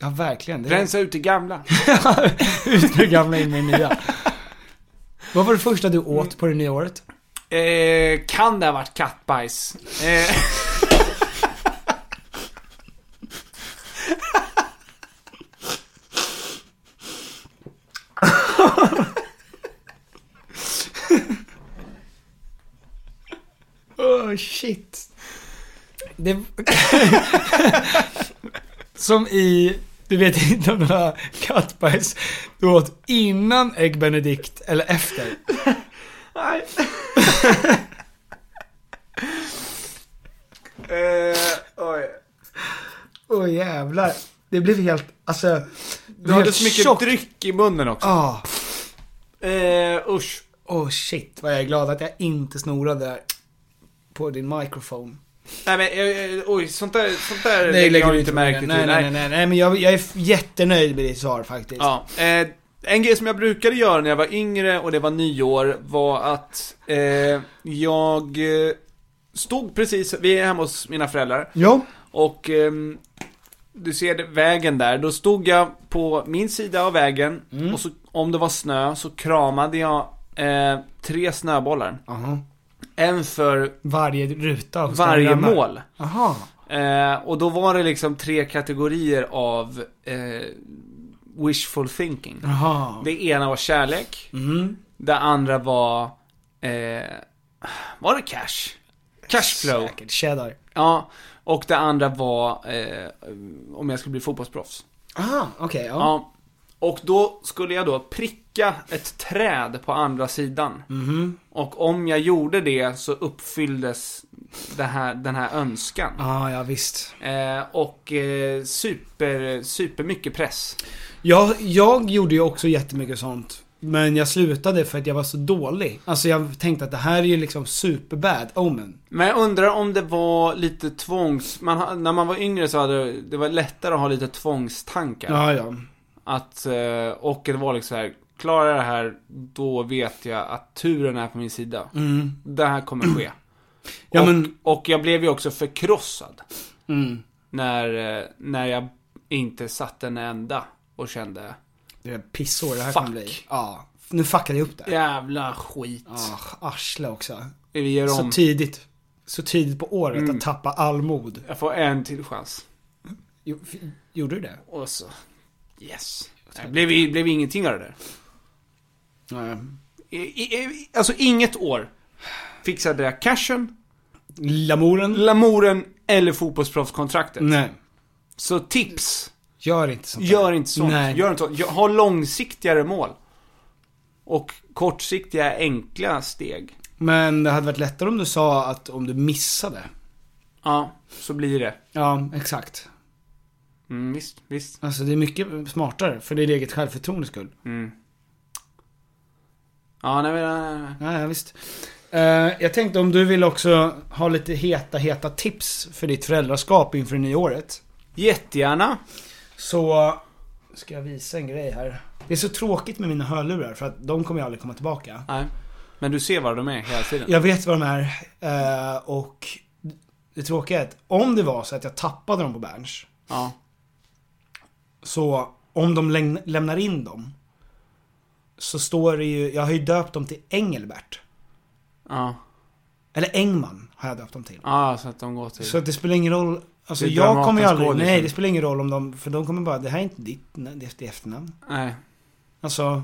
Speaker 2: ja, verkligen. Det
Speaker 5: Rensa ut det gamla.
Speaker 2: ut med det gamla in med det nya. Vad var det första du åt på det nya året?
Speaker 5: Eh, kan det ha varit kattbajs? Eh.
Speaker 2: Oh shit. Det... Som i, du vet inte om några kattbajs du åt innan ägg benedict eller efter.
Speaker 5: Nej. Eh, oj.
Speaker 2: Åh jävlar. Det blev helt, alltså. det
Speaker 5: Du
Speaker 2: blev
Speaker 5: hade
Speaker 2: helt
Speaker 5: så mycket
Speaker 2: tjockt.
Speaker 5: dryck i munnen också.
Speaker 2: Ja.
Speaker 5: Eh, usch.
Speaker 2: Åh shit vad jag är glad att jag inte snorade där. På din mikrofon.
Speaker 5: Nej men, eh, eh, oj, sånt där, sånt där
Speaker 2: Nej,
Speaker 5: lägger jag
Speaker 2: du
Speaker 5: inte
Speaker 2: på
Speaker 5: märke
Speaker 2: den.
Speaker 5: till.
Speaker 2: Nej, nej, nej, nej, nej, men jag, jag är f- jättenöjd med ditt svar faktiskt.
Speaker 5: Ja. Eh, en grej som jag brukade göra när jag var yngre och det var nyår var att eh, jag eh, stod precis, vi är hemma hos mina föräldrar.
Speaker 2: Ja.
Speaker 5: Och ehm, du ser det- vägen där, då stod jag på min sida av vägen
Speaker 2: Mm.
Speaker 5: och så, om det var snö så kramade jag eh, tre snöbollar. En för
Speaker 2: varje ruta hos
Speaker 5: varje
Speaker 2: den gamla.
Speaker 5: mål.
Speaker 2: Aha.
Speaker 5: Eh, och då var det liksom tre kategorier av eh, wishful thinking.
Speaker 2: Aha. Mm.
Speaker 5: Det ena var kärlek. Det andra var... Eh, var det cash? Cashflow.
Speaker 2: Säkert, cheddar.
Speaker 5: Ja. Och det andra var eh, om jag skulle bli fotbollsproffs.
Speaker 2: Aha, okej. ja.
Speaker 5: Ja. Och då skulle jag då pricka ett träd på andra sidan.
Speaker 2: Mhm.
Speaker 5: Och om jag gjorde det så uppfylldes det här, den här önskan.
Speaker 2: Ja, ja visst.
Speaker 5: Eh, och eh, super, super mycket press.
Speaker 2: Jag, jag gjorde ju också jättemycket sånt. Men jag slutade för att jag var så dålig. Alltså jag tänkte att det här är ju liksom superbad omen.
Speaker 5: Men jag undrar om det var lite tvångs... Man, ha- när man var yngre så hade det- det var lättare att ha lite tvångstankar.
Speaker 2: Ja, ja.
Speaker 5: Att, eh, och det var liksom så här, klarar jag det här, då vet jag att turen är på min sida.
Speaker 2: Mm.
Speaker 5: Det här kommer ske.
Speaker 2: Ja,
Speaker 5: och,
Speaker 2: men-
Speaker 5: och jag blev ju också förkrossad.
Speaker 2: Mm.
Speaker 5: När, eh, när jag inte satte en enda och kände,
Speaker 2: Det är pissår det här
Speaker 5: Fuck.
Speaker 2: kommer bli. Ja. Nu fuckade jag upp det.
Speaker 5: jävla skit.
Speaker 2: Ah, arsle också.
Speaker 5: Vi gör
Speaker 2: Så
Speaker 5: om.
Speaker 2: tidigt. Så tidigt på året
Speaker 5: Mm.
Speaker 2: att tappa all mod.
Speaker 5: Jag får en till chans.
Speaker 2: Jo, f- Gjorde du det?
Speaker 5: Och så, yes. Det blev, i- blev ingenting av det där.
Speaker 2: Nej.
Speaker 5: I, i, i- alltså inget år fixade jag cashen,
Speaker 2: Lamouren?
Speaker 5: Lamouren eller fotbollsproffskontraktet.
Speaker 2: Nej.
Speaker 5: Så tips.
Speaker 2: Gör inte sånt. där.
Speaker 5: Gör inte sånt.
Speaker 2: Nej.
Speaker 5: Gör inte sånt. Ha långsiktigare mål. Och kortsiktiga, enkla steg.
Speaker 2: Men det hade varit lättare om du sa att om du missade.
Speaker 5: Ja, så blir det.
Speaker 2: Ja, exakt.
Speaker 5: Mm, visst, visst.
Speaker 2: Alltså det är mycket smartare för det är eget självförtroendes skull.
Speaker 5: Mm. Ja, nej, men, nej, nej.
Speaker 2: Ja, ja visst. Eh, jag tänkte om du vill också ha lite heta, heta tips för ditt föräldraskap inför det nya året.
Speaker 5: Jättegärna.
Speaker 2: Så ska jag visa en grej här. Det är så tråkigt med mina hörlurar för att de kommer ju aldrig komma tillbaka.
Speaker 5: nej. Men du ser var de är hela tiden.
Speaker 2: Jag vet vad de är eh, och det tråkiga är att om det var så att jag tappade dem på Berns.
Speaker 5: Ja.
Speaker 2: Så om de lämn- lämnar in dem. Så står det ju, jag har ju döpt dem till Engelbert.
Speaker 5: Ja.
Speaker 2: Eller Engman har jag döpt dem till.
Speaker 5: Ja, så att de går till...
Speaker 2: Så att det spelar ingen roll. Alltså
Speaker 5: Det är
Speaker 2: jag kommer ju aldrig,
Speaker 5: Dramatenskådisen.
Speaker 2: nej det spelar ingen roll om de, för de kommer bara, det här är inte ditt, nej, det är ditt efternamn.
Speaker 5: Nej.
Speaker 2: Alltså,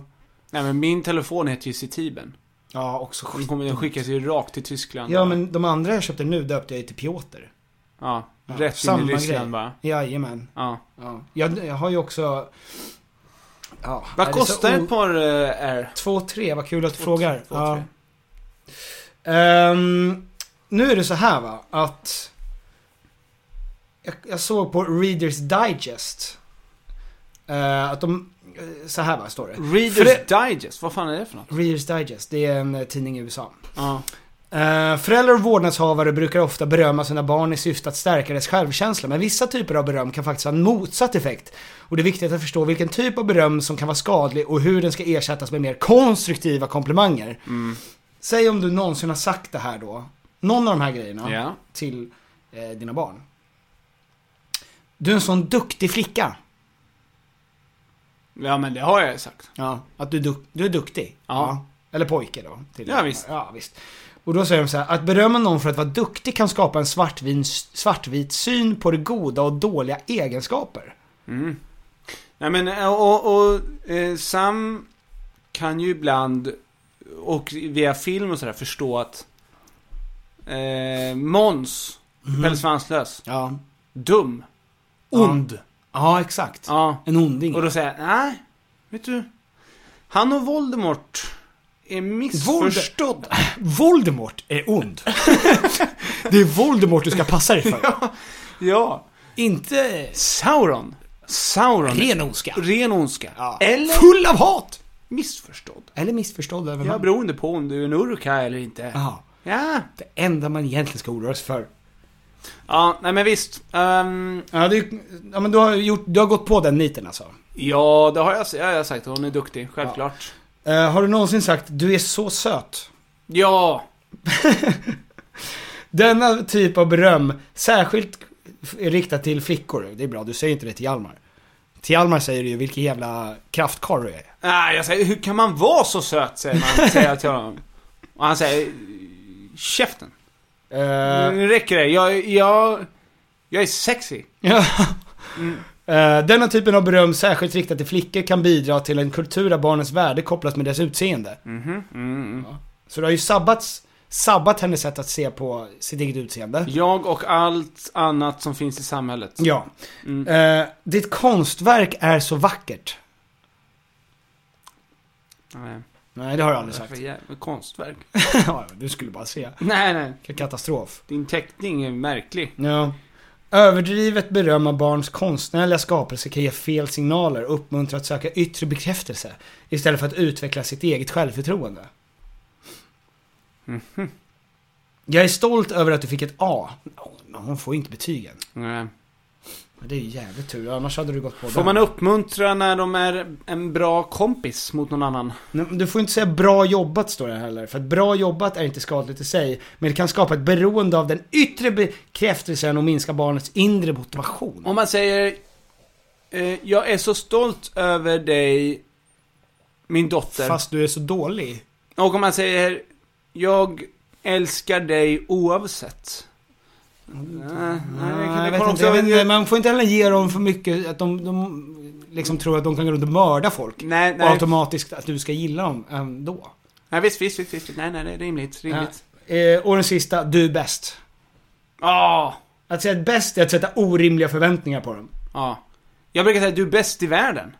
Speaker 5: Nej men min telefon heter ju Citiben.
Speaker 2: Ja, också
Speaker 5: Den, kommer, den skickas ju rakt till Tyskland.
Speaker 2: ja men de andra jag köpte nu döpte jag ju till Piotr.
Speaker 5: Ja,
Speaker 2: Ja,
Speaker 5: rätt
Speaker 2: samma
Speaker 5: in i Ryssland
Speaker 2: grej.
Speaker 5: bara.
Speaker 2: Jajamän.
Speaker 5: Ja.
Speaker 2: Ja. Jag, jag har ju också... Ja,
Speaker 5: Vad
Speaker 2: är det så
Speaker 5: kostar
Speaker 2: o-
Speaker 5: ett par eh, Air?
Speaker 2: 2-3, vad kul att du frågar.
Speaker 5: två,
Speaker 2: ja. Ehm, nu är det så här va, att jag, jag såg på Readers Digest eh, att de, eh, så här va står det.
Speaker 5: Readers
Speaker 2: Förä-
Speaker 5: Digest, vad fan är det för något?
Speaker 2: Readers Digest, det är en eh, tidning i USA.
Speaker 5: Ja.
Speaker 2: Eh, föräldrar och vårdnadshavare brukar ofta berömma sina barn i syfte att stärka deras självkänsla, men vissa typer av beröm kan faktiskt ha en motsatt effekt. Och det är viktigt att förstå vilken typ av beröm som kan vara skadlig och hur den ska ersättas med mer konstruktiva komplimanger.
Speaker 5: Mm.
Speaker 2: Säg om du någonsin har sagt det här då, någon av de här grejerna,
Speaker 5: Ja.
Speaker 2: till eh, dina barn. Du är en sån duktig flicka.
Speaker 5: ja men det har jag ju sagt.
Speaker 2: Ja. Att du, är duk- du är duktig.
Speaker 5: Ja.
Speaker 2: Eller pojke då. Till
Speaker 5: Ja, visst.
Speaker 2: ja visst. Och då säger de så här, att berömma någon för att vara duktig kan skapa en svartvin, svartvit syn på det goda och dåliga egenskaper.
Speaker 5: Mm. Nej men eh, och, och eh, Sam kan ju ibland och via film och sådär förstå att Eh, Måns. Pelle Svanslös. Dum.
Speaker 2: Mhm. Ja.
Speaker 5: Ond.
Speaker 2: Ja, exakt. En onding.
Speaker 5: Och då säger jag, nej, vet du. Han och Voldemort är missförstådda.
Speaker 2: Voldemort är ond. det är Voldemort du ska passa dig för.
Speaker 5: Ja.
Speaker 2: Inte...
Speaker 5: Sauron. Sauron.
Speaker 2: Ren ondska.
Speaker 5: Ren ondska.
Speaker 2: Eller... Full av hat!
Speaker 5: Missförstådd.
Speaker 2: Eller missförstådd över
Speaker 5: Ja, beroende på om du är en urka eller inte.
Speaker 2: Ja.
Speaker 5: Ja.
Speaker 2: Det enda man egentligen ska oroa sig för.
Speaker 5: Ja, nej men visst. Ehm,
Speaker 2: Ja, du, ja men du har, gjort, du har gått på den niten alltså.
Speaker 5: ja, det har jag, jag har sagt. Hon är duktig, självklart.
Speaker 2: Eh, har du någonsin sagt du är så söt?
Speaker 5: Ja.
Speaker 2: Denna typ av beröm, särskilt f- riktat till flickor. Det är bra, du säger inte det till Hjalmar. Till Hjalmar säger du ju vilken jävla kraftkarl du är.
Speaker 5: Nej, jag säger, hur kan man vara så söt? Säger man, säger jag till honom. Och han säger, käften.
Speaker 2: Eh.
Speaker 5: Nu räcker det. Jag, jag, jag är sexy. Mm.
Speaker 2: Ja. Eh, Denna typen av beröm, särskilt riktat till flickor, kan bidra till en kultur där barnens värde kopplas med dess utseende.
Speaker 5: Ja.
Speaker 2: Så du har ju sabbats, sabbat hennes sätt att se på sitt eget utseende.
Speaker 5: Jag och allt annat som finns i samhället. Mm.
Speaker 2: Ja. Eh, ditt konstverk är så vackert.
Speaker 5: Nej,
Speaker 2: Nej, det har jag aldrig sagt.
Speaker 5: För jävla konstverk.
Speaker 2: Ja, du skulle bara se.
Speaker 5: nej, nej.
Speaker 2: Vilken katastrof.
Speaker 5: Din teckning är märklig.
Speaker 2: Ja. Överdrivet beröm av barns konstnärliga skapelse kan ge fel signaler och uppmuntra att söka yttre bekräftelse istället för att utveckla sitt eget självförtroende. Jag är stolt över att du fick ett A. Men hon får ju inte betygen.
Speaker 5: Nej.
Speaker 2: Men Det är ju jävligt tur, annars hade du gått på
Speaker 5: Får
Speaker 2: den.
Speaker 5: man uppmuntra när de är en bra kompis mot någon annan?
Speaker 2: Nej, men Du får inte säga bra jobbat står det här heller. För att bra jobbat är inte skadligt i sig, men det kan skapa ett beroende av den yttre bekräftelsen och minska barnets inre motivation.
Speaker 5: Om man säger eh, Jag är så stolt över dig Min dotter.
Speaker 2: Fast du är så dålig.
Speaker 5: Och om man säger Jag älskar dig oavsett. Nej, nej,
Speaker 2: Mm. Nej, jag
Speaker 5: kan
Speaker 2: vet inte.
Speaker 5: också-
Speaker 2: Jag vet inte. Man får inte heller ge dem för mycket, att de, de liksom tror att de kan gå runt och mörda folk.
Speaker 5: Nej,
Speaker 2: Och
Speaker 5: nej.
Speaker 2: automatiskt att du ska gilla dem ändå.
Speaker 5: nej visst, visst, visst, visst. Nej, nej, det är rimligt. rimligt.
Speaker 2: Eh, och den sista, du är bäst.
Speaker 5: Ja.
Speaker 2: Att säga att bäst är att sätta orimliga förväntningar på dem.
Speaker 5: ja. Jag brukar säga du är bäst i världen.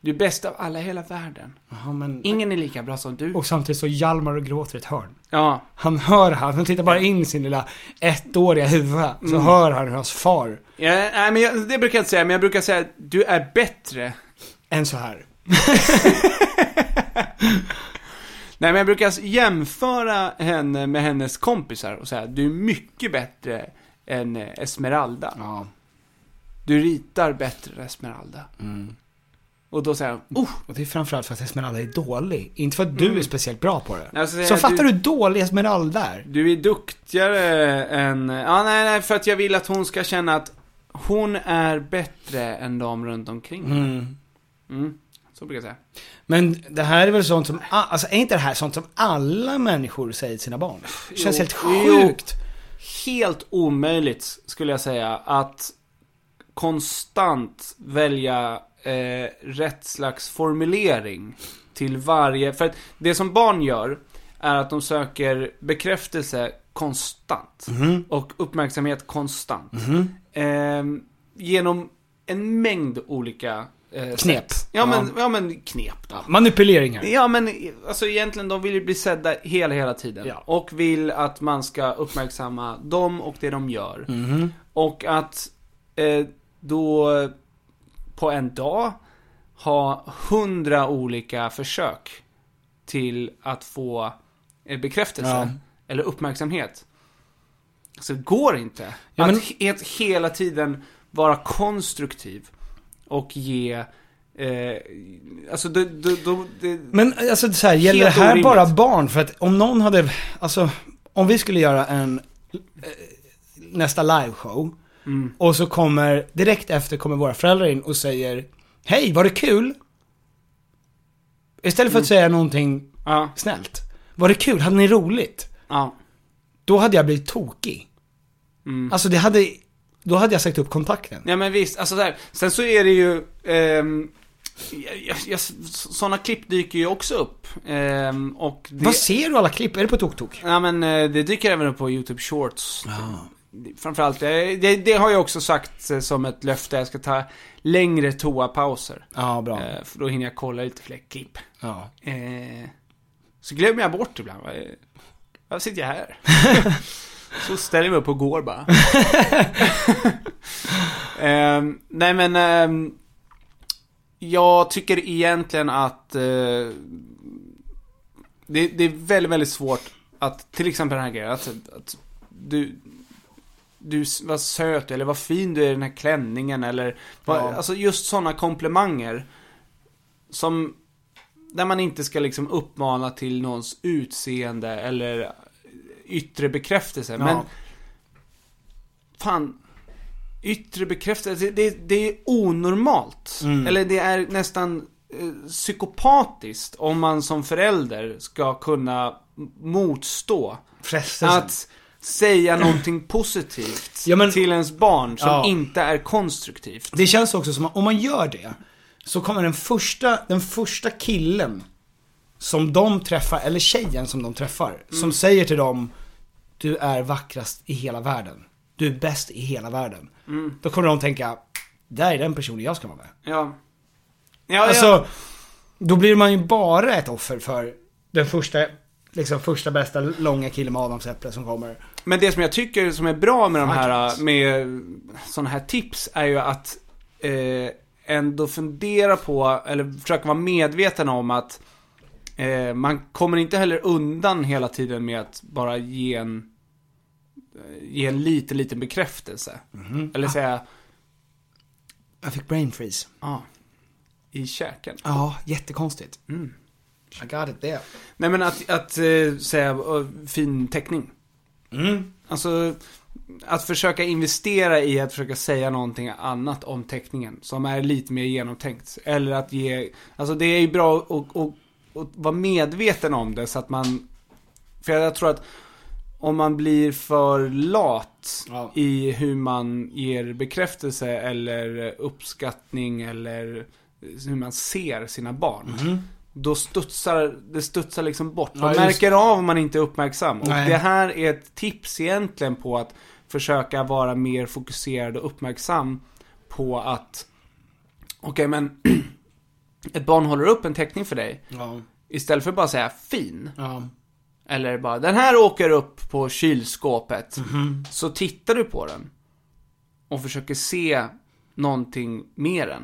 Speaker 5: Du är bäst av alla i hela världen.
Speaker 2: Jaha, men...
Speaker 5: Ingen är lika bra som du.
Speaker 2: Och samtidigt så Hjalmar och gråter i ett hörn.
Speaker 5: Ja.
Speaker 2: Han hör han, han tittar bara in i sin lilla ettåriga huvud. Så
Speaker 5: Mm.
Speaker 2: hör han hur hans far,
Speaker 5: ja nej, men jag, det brukar jag inte säga, men jag brukar säga du är bättre
Speaker 2: än så här.
Speaker 5: Nej men jag brukar alltså jämföra henne med hennes kompisar och säga du är mycket bättre än eh, Esmeralda. Du ritar bättre än Esmeralda. Och då säger hon, oh! Mm.
Speaker 2: Och det är framförallt för att Esmeralda är dålig. Inte för att du är speciellt bra på det.
Speaker 5: Nej, så säger
Speaker 2: så
Speaker 5: jag,
Speaker 2: fattar
Speaker 5: du-
Speaker 2: du hur dålig Esmeralda är?
Speaker 5: Du är duktigare än... Ja nej nej, för att jag vill att hon ska känna att hon är bättre än de runt omkring henne."
Speaker 2: Mm.
Speaker 5: Mm. Så brukar jag säga.
Speaker 2: Men det här är väl sånt som, a- alltså är inte det här sånt som alla människor säger till sina barn? Det känns
Speaker 5: Jo.
Speaker 2: helt sjukt.
Speaker 5: Helt omöjligt skulle jag säga att konstant välja eh, rätt slags formulering till varje... För att det som barn gör är att de söker bekräftelse konstant.
Speaker 2: Mhm.
Speaker 5: Och uppmärksamhet konstant. Eh, genom en mängd olika eh,
Speaker 2: Knep.
Speaker 5: Sätt. Ja, men, ja men knep då.
Speaker 2: Manipuleringar.
Speaker 5: Ja men alltså egentligen de vill ju bli sedda hela hela tiden.
Speaker 2: Ja.
Speaker 5: Och vill att man ska uppmärksamma dem och det de gör.
Speaker 2: Mhm.
Speaker 5: Och att eh, då på en dag ha hundra olika försök till att få eh, bekräftelse
Speaker 2: Ja.
Speaker 5: eller uppmärksamhet. Så det går inte.
Speaker 2: Ja, men-
Speaker 5: Att, he- att hela tiden vara konstruktiv och ge Eh, alltså, då, då, då, det,
Speaker 2: Men alltså så här, gäller det
Speaker 5: Helt
Speaker 2: här
Speaker 5: orimligt.
Speaker 2: bara barn? För att om någon hade, alltså om vi skulle göra en eh, nästa liveshow
Speaker 5: Mm.
Speaker 2: och så kommer, direkt efter kommer våra föräldrar in och säger Hej, var det kul? Istället för att säga någonting
Speaker 5: Ja.
Speaker 2: snällt. Var det kul? Hade ni roligt?
Speaker 5: Ja.
Speaker 2: Då hade jag blivit tokig.
Speaker 5: Mm.
Speaker 2: Alltså det hade, då hade jag sagt upp kontakten.
Speaker 5: Nej men visst, alltså så här. Sen så är det ju ehm,
Speaker 2: Sådana klipp dyker ju också upp. Ehm, och det,
Speaker 7: Vad ser du alla klipp? Är det på TokTok?
Speaker 2: Ja men eh, det dyker även upp på YouTube Shorts. Det- Framförallt, eh, det, det har jag också sagt eh, som ett löfte, jag ska ta längre toapauser.
Speaker 7: Ja, bra.
Speaker 2: Eh, För då hinner jag kolla lite fler klipp.
Speaker 7: Ja.
Speaker 2: Eh, Så glömmer jag bort ibland. va? Eh, Jag sitter jag här. så ställer jag mig upp och går bara. eh, nej men... ehm, jag tycker egentligen att... Eh, det, det är väldigt, väldigt svårt att... Till exempel den här grejen. Att, att du... Du, s- vad söt du är, eller vad fin du är i den här klänningen eller... Vad,
Speaker 12: Ja.
Speaker 2: Alltså just sådana komplimanger. Som där man inte ska liksom uppmana till någons utseende eller yttre bekräftelse.
Speaker 12: Ja.
Speaker 2: Men... Fan. Yttre bekräftelse, det- det, det är onormalt.
Speaker 12: Mm.
Speaker 2: Eller det är nästan eh, psykopatiskt om man som förälder ska kunna m- motstå.
Speaker 7: Frestelsen.
Speaker 2: Att säga någonting positivt till ens barn som
Speaker 7: Ja.
Speaker 2: inte är konstruktivt.
Speaker 7: Det känns också som att om man gör det så kommer den första, den första killen som de träffar, eller tjejen som de träffar,
Speaker 2: Mm.
Speaker 7: som säger till dem Du är vackrast i hela världen. Du är bäst i hela världen.
Speaker 2: Mm.
Speaker 7: Då kommer de tänka Där är den personen jag ska vara med.
Speaker 2: Ja. Ja,
Speaker 7: alltså,
Speaker 2: ja.
Speaker 7: då blir man ju bara ett offer för den första, liksom första bästa långa killen med adamsäpple som kommer.
Speaker 2: Men det som jag tycker som är bra med de här,
Speaker 7: Faktiskt.
Speaker 2: med sådana här tips är ju att eh, ändå fundera på, eller försöka vara medveten om att eh, man kommer inte heller undan hela tiden med att bara ge en, eh, ge en liten, liten bekräftelse.
Speaker 7: Mhm.
Speaker 2: Eller
Speaker 7: Ah.
Speaker 2: säga,
Speaker 7: Jag fick brain freeze.
Speaker 2: ja, i käken.
Speaker 7: Ja, jättekonstigt.
Speaker 2: Mm.
Speaker 7: I got it there.
Speaker 2: Nej men att, att eh, säga eh, fin teckning. Mm. Alltså, att försöka investera i att försöka säga någonting annat om teckningen som är lite mer genomtänkt. Eller att ge, alltså det är ju bra att, att, att, att vara medveten om det så att man, för jag tror att om man blir för lat i hur man ger bekräftelse eller uppskattning eller hur man ser sina barn. Då studsar, det studsar liksom bort. Man
Speaker 12: Mhm. Ja, just
Speaker 2: märker av om man inte är uppmärksam. Och
Speaker 12: Nej.
Speaker 2: det här är ett tips egentligen på att försöka vara mer fokuserad och uppmärksam på att Okej men ett barn håller upp en teckning för dig.
Speaker 7: Ja.
Speaker 2: Istället för att bara säga fin.
Speaker 7: Ja.
Speaker 2: Eller bara den här åker upp på kylskåpet.
Speaker 7: Mhm.
Speaker 2: Så tittar du på den. Och försöker se någonting mer än.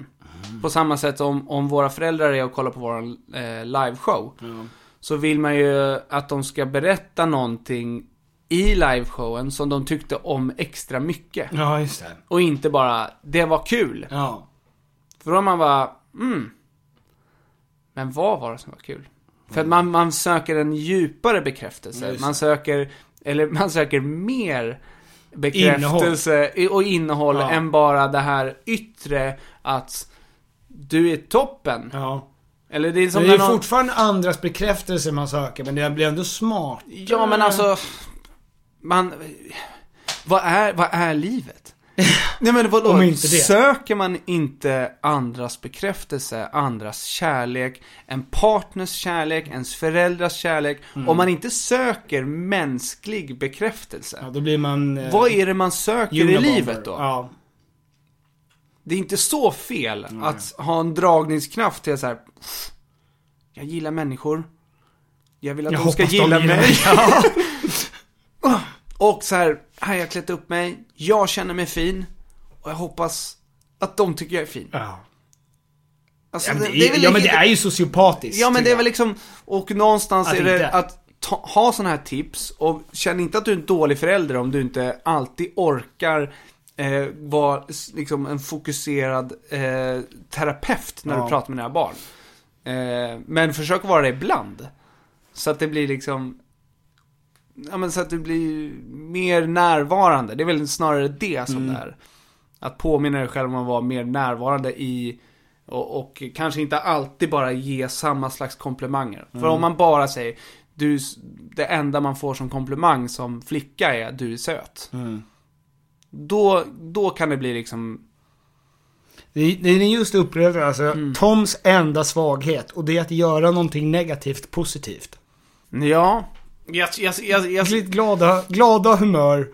Speaker 7: Mhm.
Speaker 2: På samma sätt om, om våra föräldrar är och kollar på vår eh, liveshow. Så vill man ju att de ska berätta någonting i liveshowen som de tyckte om extra mycket.
Speaker 7: Ja, just det.
Speaker 2: Och inte bara, det var kul.
Speaker 7: Ja.
Speaker 2: För då har man bara, mm. Men vad var det som var kul? För att man, man söker en djupare bekräftelse.
Speaker 12: Mm. Just det.
Speaker 2: man söker, eller man söker mer bekräftelse i- och innehåll
Speaker 12: Ja.
Speaker 2: än bara det här yttre att du är toppen. Eller det är som
Speaker 7: Men det är
Speaker 2: när någon-
Speaker 7: fortfarande andras bekräftelse man söker, men det blir ändå smart.
Speaker 2: Ja men alltså, man... Vad är, vad är livet? Nej men vadå?
Speaker 7: Om inte det.
Speaker 2: Söker man inte andras bekräftelse, andras kärlek, en partners kärlek, ens föräldrars kärlek.
Speaker 7: Mm.
Speaker 2: Om man inte söker mänsklig bekräftelse.
Speaker 7: Ja, då blir man... eh,
Speaker 2: Vad är det man söker i
Speaker 7: Unabomber.
Speaker 2: livet då?
Speaker 7: Ja.
Speaker 2: Det är inte så fel att ha en dragningskraft till så här. "Pff, Jag gillar människor. Jag vill att
Speaker 7: Jag
Speaker 2: de ska
Speaker 7: hoppas de
Speaker 2: gilla
Speaker 7: gillar
Speaker 2: mig.
Speaker 7: mig. Ja.
Speaker 2: och så här, här har jag klätt upp mig. Jag känner mig fin. Och jag hoppas att de tycker jag är fin.
Speaker 7: Ja.
Speaker 2: Alltså,
Speaker 7: ja, men
Speaker 2: det- det är väl
Speaker 7: ja, men det
Speaker 2: lite-
Speaker 7: är ju sociopatiskt.
Speaker 2: Ja men det är
Speaker 7: tycker
Speaker 2: väl liksom, och någonstans
Speaker 7: Att
Speaker 2: är det
Speaker 7: inte.
Speaker 2: att ta, ha sådana här tips och känn inte att du är en dålig förälder om du inte alltid orkar eh, vara s- liksom en fokuserad eh, terapeut när
Speaker 12: Ja.
Speaker 2: du pratar med dina barn. Eh, men försök vara det ibland. Så att det blir liksom, ja men så att du blir mer närvarande. Det är väl snarare det som
Speaker 12: Mm.
Speaker 2: det är. Att påminna dig själv om att vara mer närvarande i och, och kanske inte alltid bara ge samma slags komplimanger. För
Speaker 12: Mm.
Speaker 2: om man bara säger du, är s- det enda man får som komplimang som flicka är du är söt.
Speaker 7: Mm.
Speaker 2: Då, då kan det bli liksom,
Speaker 7: jag.
Speaker 13: Det det ni just upplevde alltså,
Speaker 2: Mm.
Speaker 13: Toms enda svaghet och det är att göra någonting negativt positivt.
Speaker 2: Ja. Jag, jag, jag, jag...
Speaker 13: Ditt glada, glada humör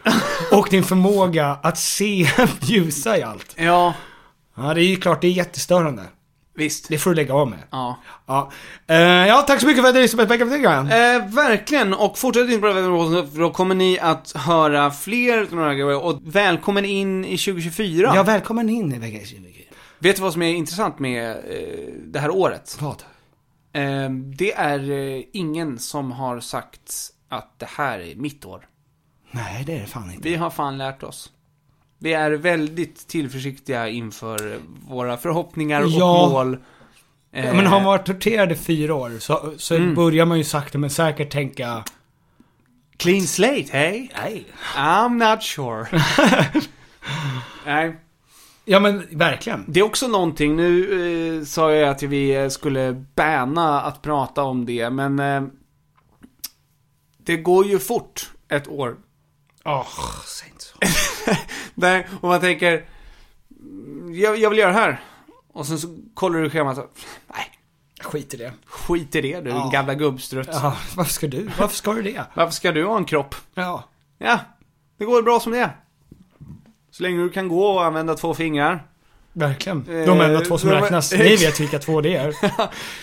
Speaker 13: och din förmåga att se ljusa i allt.
Speaker 2: Ja.
Speaker 13: Ja, det är ju klart, det är jättestörande.
Speaker 2: Visst.
Speaker 13: Det får du lägga av med.
Speaker 2: Ja.
Speaker 13: Ja, Eh, ja tack så mycket för att du lyssnade på ett vecka
Speaker 2: Eh, verkligen, och fortsätt inte på det här för då kommer ni att höra fler av några grejer. Och välkommen in i 2024.
Speaker 13: Ja, välkommen in i veckan.
Speaker 2: Vet du vad som är intressant med eh, det här året?
Speaker 13: Vad?
Speaker 2: Eh, det är eh, ingen som har sagt att det här är mitt år.
Speaker 13: Nej, det är det fan inte.
Speaker 2: Vi har fan lärt oss. Vi är väldigt tillförsiktiga inför eh, våra förhoppningar och
Speaker 13: Ja.
Speaker 2: mål. Eh,
Speaker 13: Ja, men har man varit torterad i fyra år så, så
Speaker 2: Mm.
Speaker 13: börjar man ju sakta men säkert tänka...
Speaker 2: Clean slate, hey?
Speaker 13: Nej.
Speaker 2: I'm not sure. Nej.
Speaker 13: Ja men verkligen.
Speaker 2: Det är också någonting, nu eh, sa jag att vi eh, skulle bäna att prata om det, men eh, det går ju fort ett år.
Speaker 13: Åh, säg inte så.
Speaker 2: Nej, och man tänker, "Mm, jag, jag vill göra det här. Och sen så kollar du schemat och, nej,
Speaker 13: Skit i det.
Speaker 2: skit i det du,
Speaker 13: Ja.
Speaker 2: din gamla gubbstrutt.
Speaker 13: Ja, varför ska du? Varför ska du det?
Speaker 2: Varför ska du ha en kropp?
Speaker 13: Ja.
Speaker 2: Ja, det går bra som det är. Så länge du kan gå och använda två fingrar.
Speaker 13: Verkligen.
Speaker 2: Eh,
Speaker 13: De enda två som
Speaker 2: de-
Speaker 13: räknas. Ni vet vilka två det är.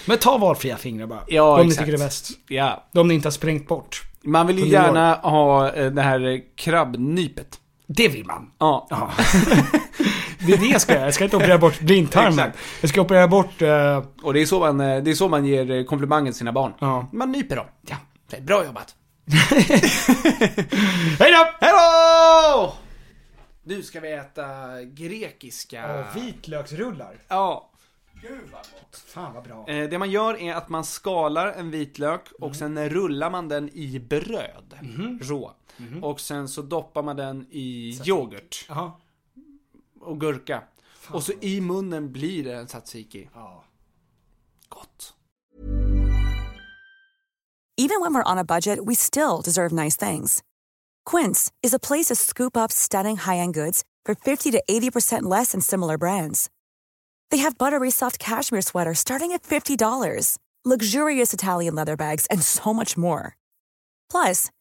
Speaker 13: Men ta valfria fingrar bara.
Speaker 2: Ja,
Speaker 13: De ni
Speaker 2: exakt.
Speaker 13: tycker är bäst.
Speaker 2: Ja.
Speaker 13: De ni inte har sprängt bort.
Speaker 2: Man vill ju
Speaker 13: Under
Speaker 2: gärna ha eh, det här eh, krabbnypet.
Speaker 13: Det vill man.
Speaker 2: Ja.
Speaker 13: Det är det jag ska göra. Jag ska inte operera bort blindtarmen. Jag ska operera bort... eh,
Speaker 2: Och det är, så man, eh, det är så man ger eh, komplimangen till sina barn. Man nyper dem. Ja. Bra jobbat.
Speaker 13: Hej då!
Speaker 2: Hej då! Nu ska vi äta grekiska...
Speaker 13: Ja, vitlöksrullar.
Speaker 2: Ja.
Speaker 13: Gud vad gott. Fan vad bra. Mm.
Speaker 2: Eh, Det man gör är att man skalar en vitlök och sen rullar man den i bröd.
Speaker 13: Mhm.
Speaker 2: Rå. Och sen så doppar man den i yoghurt. Och gurka. och så i munnen blir det en tzatziki. Gott.
Speaker 7: Even when we're on a budget, we still deserve nice things. Quince is a place to scoop up stunning high-end goods for 50 to 80% less than similar brands. They have buttery soft cashmere sweaters starting at $50, luxurious Italian leather bags, and so much more. Plus,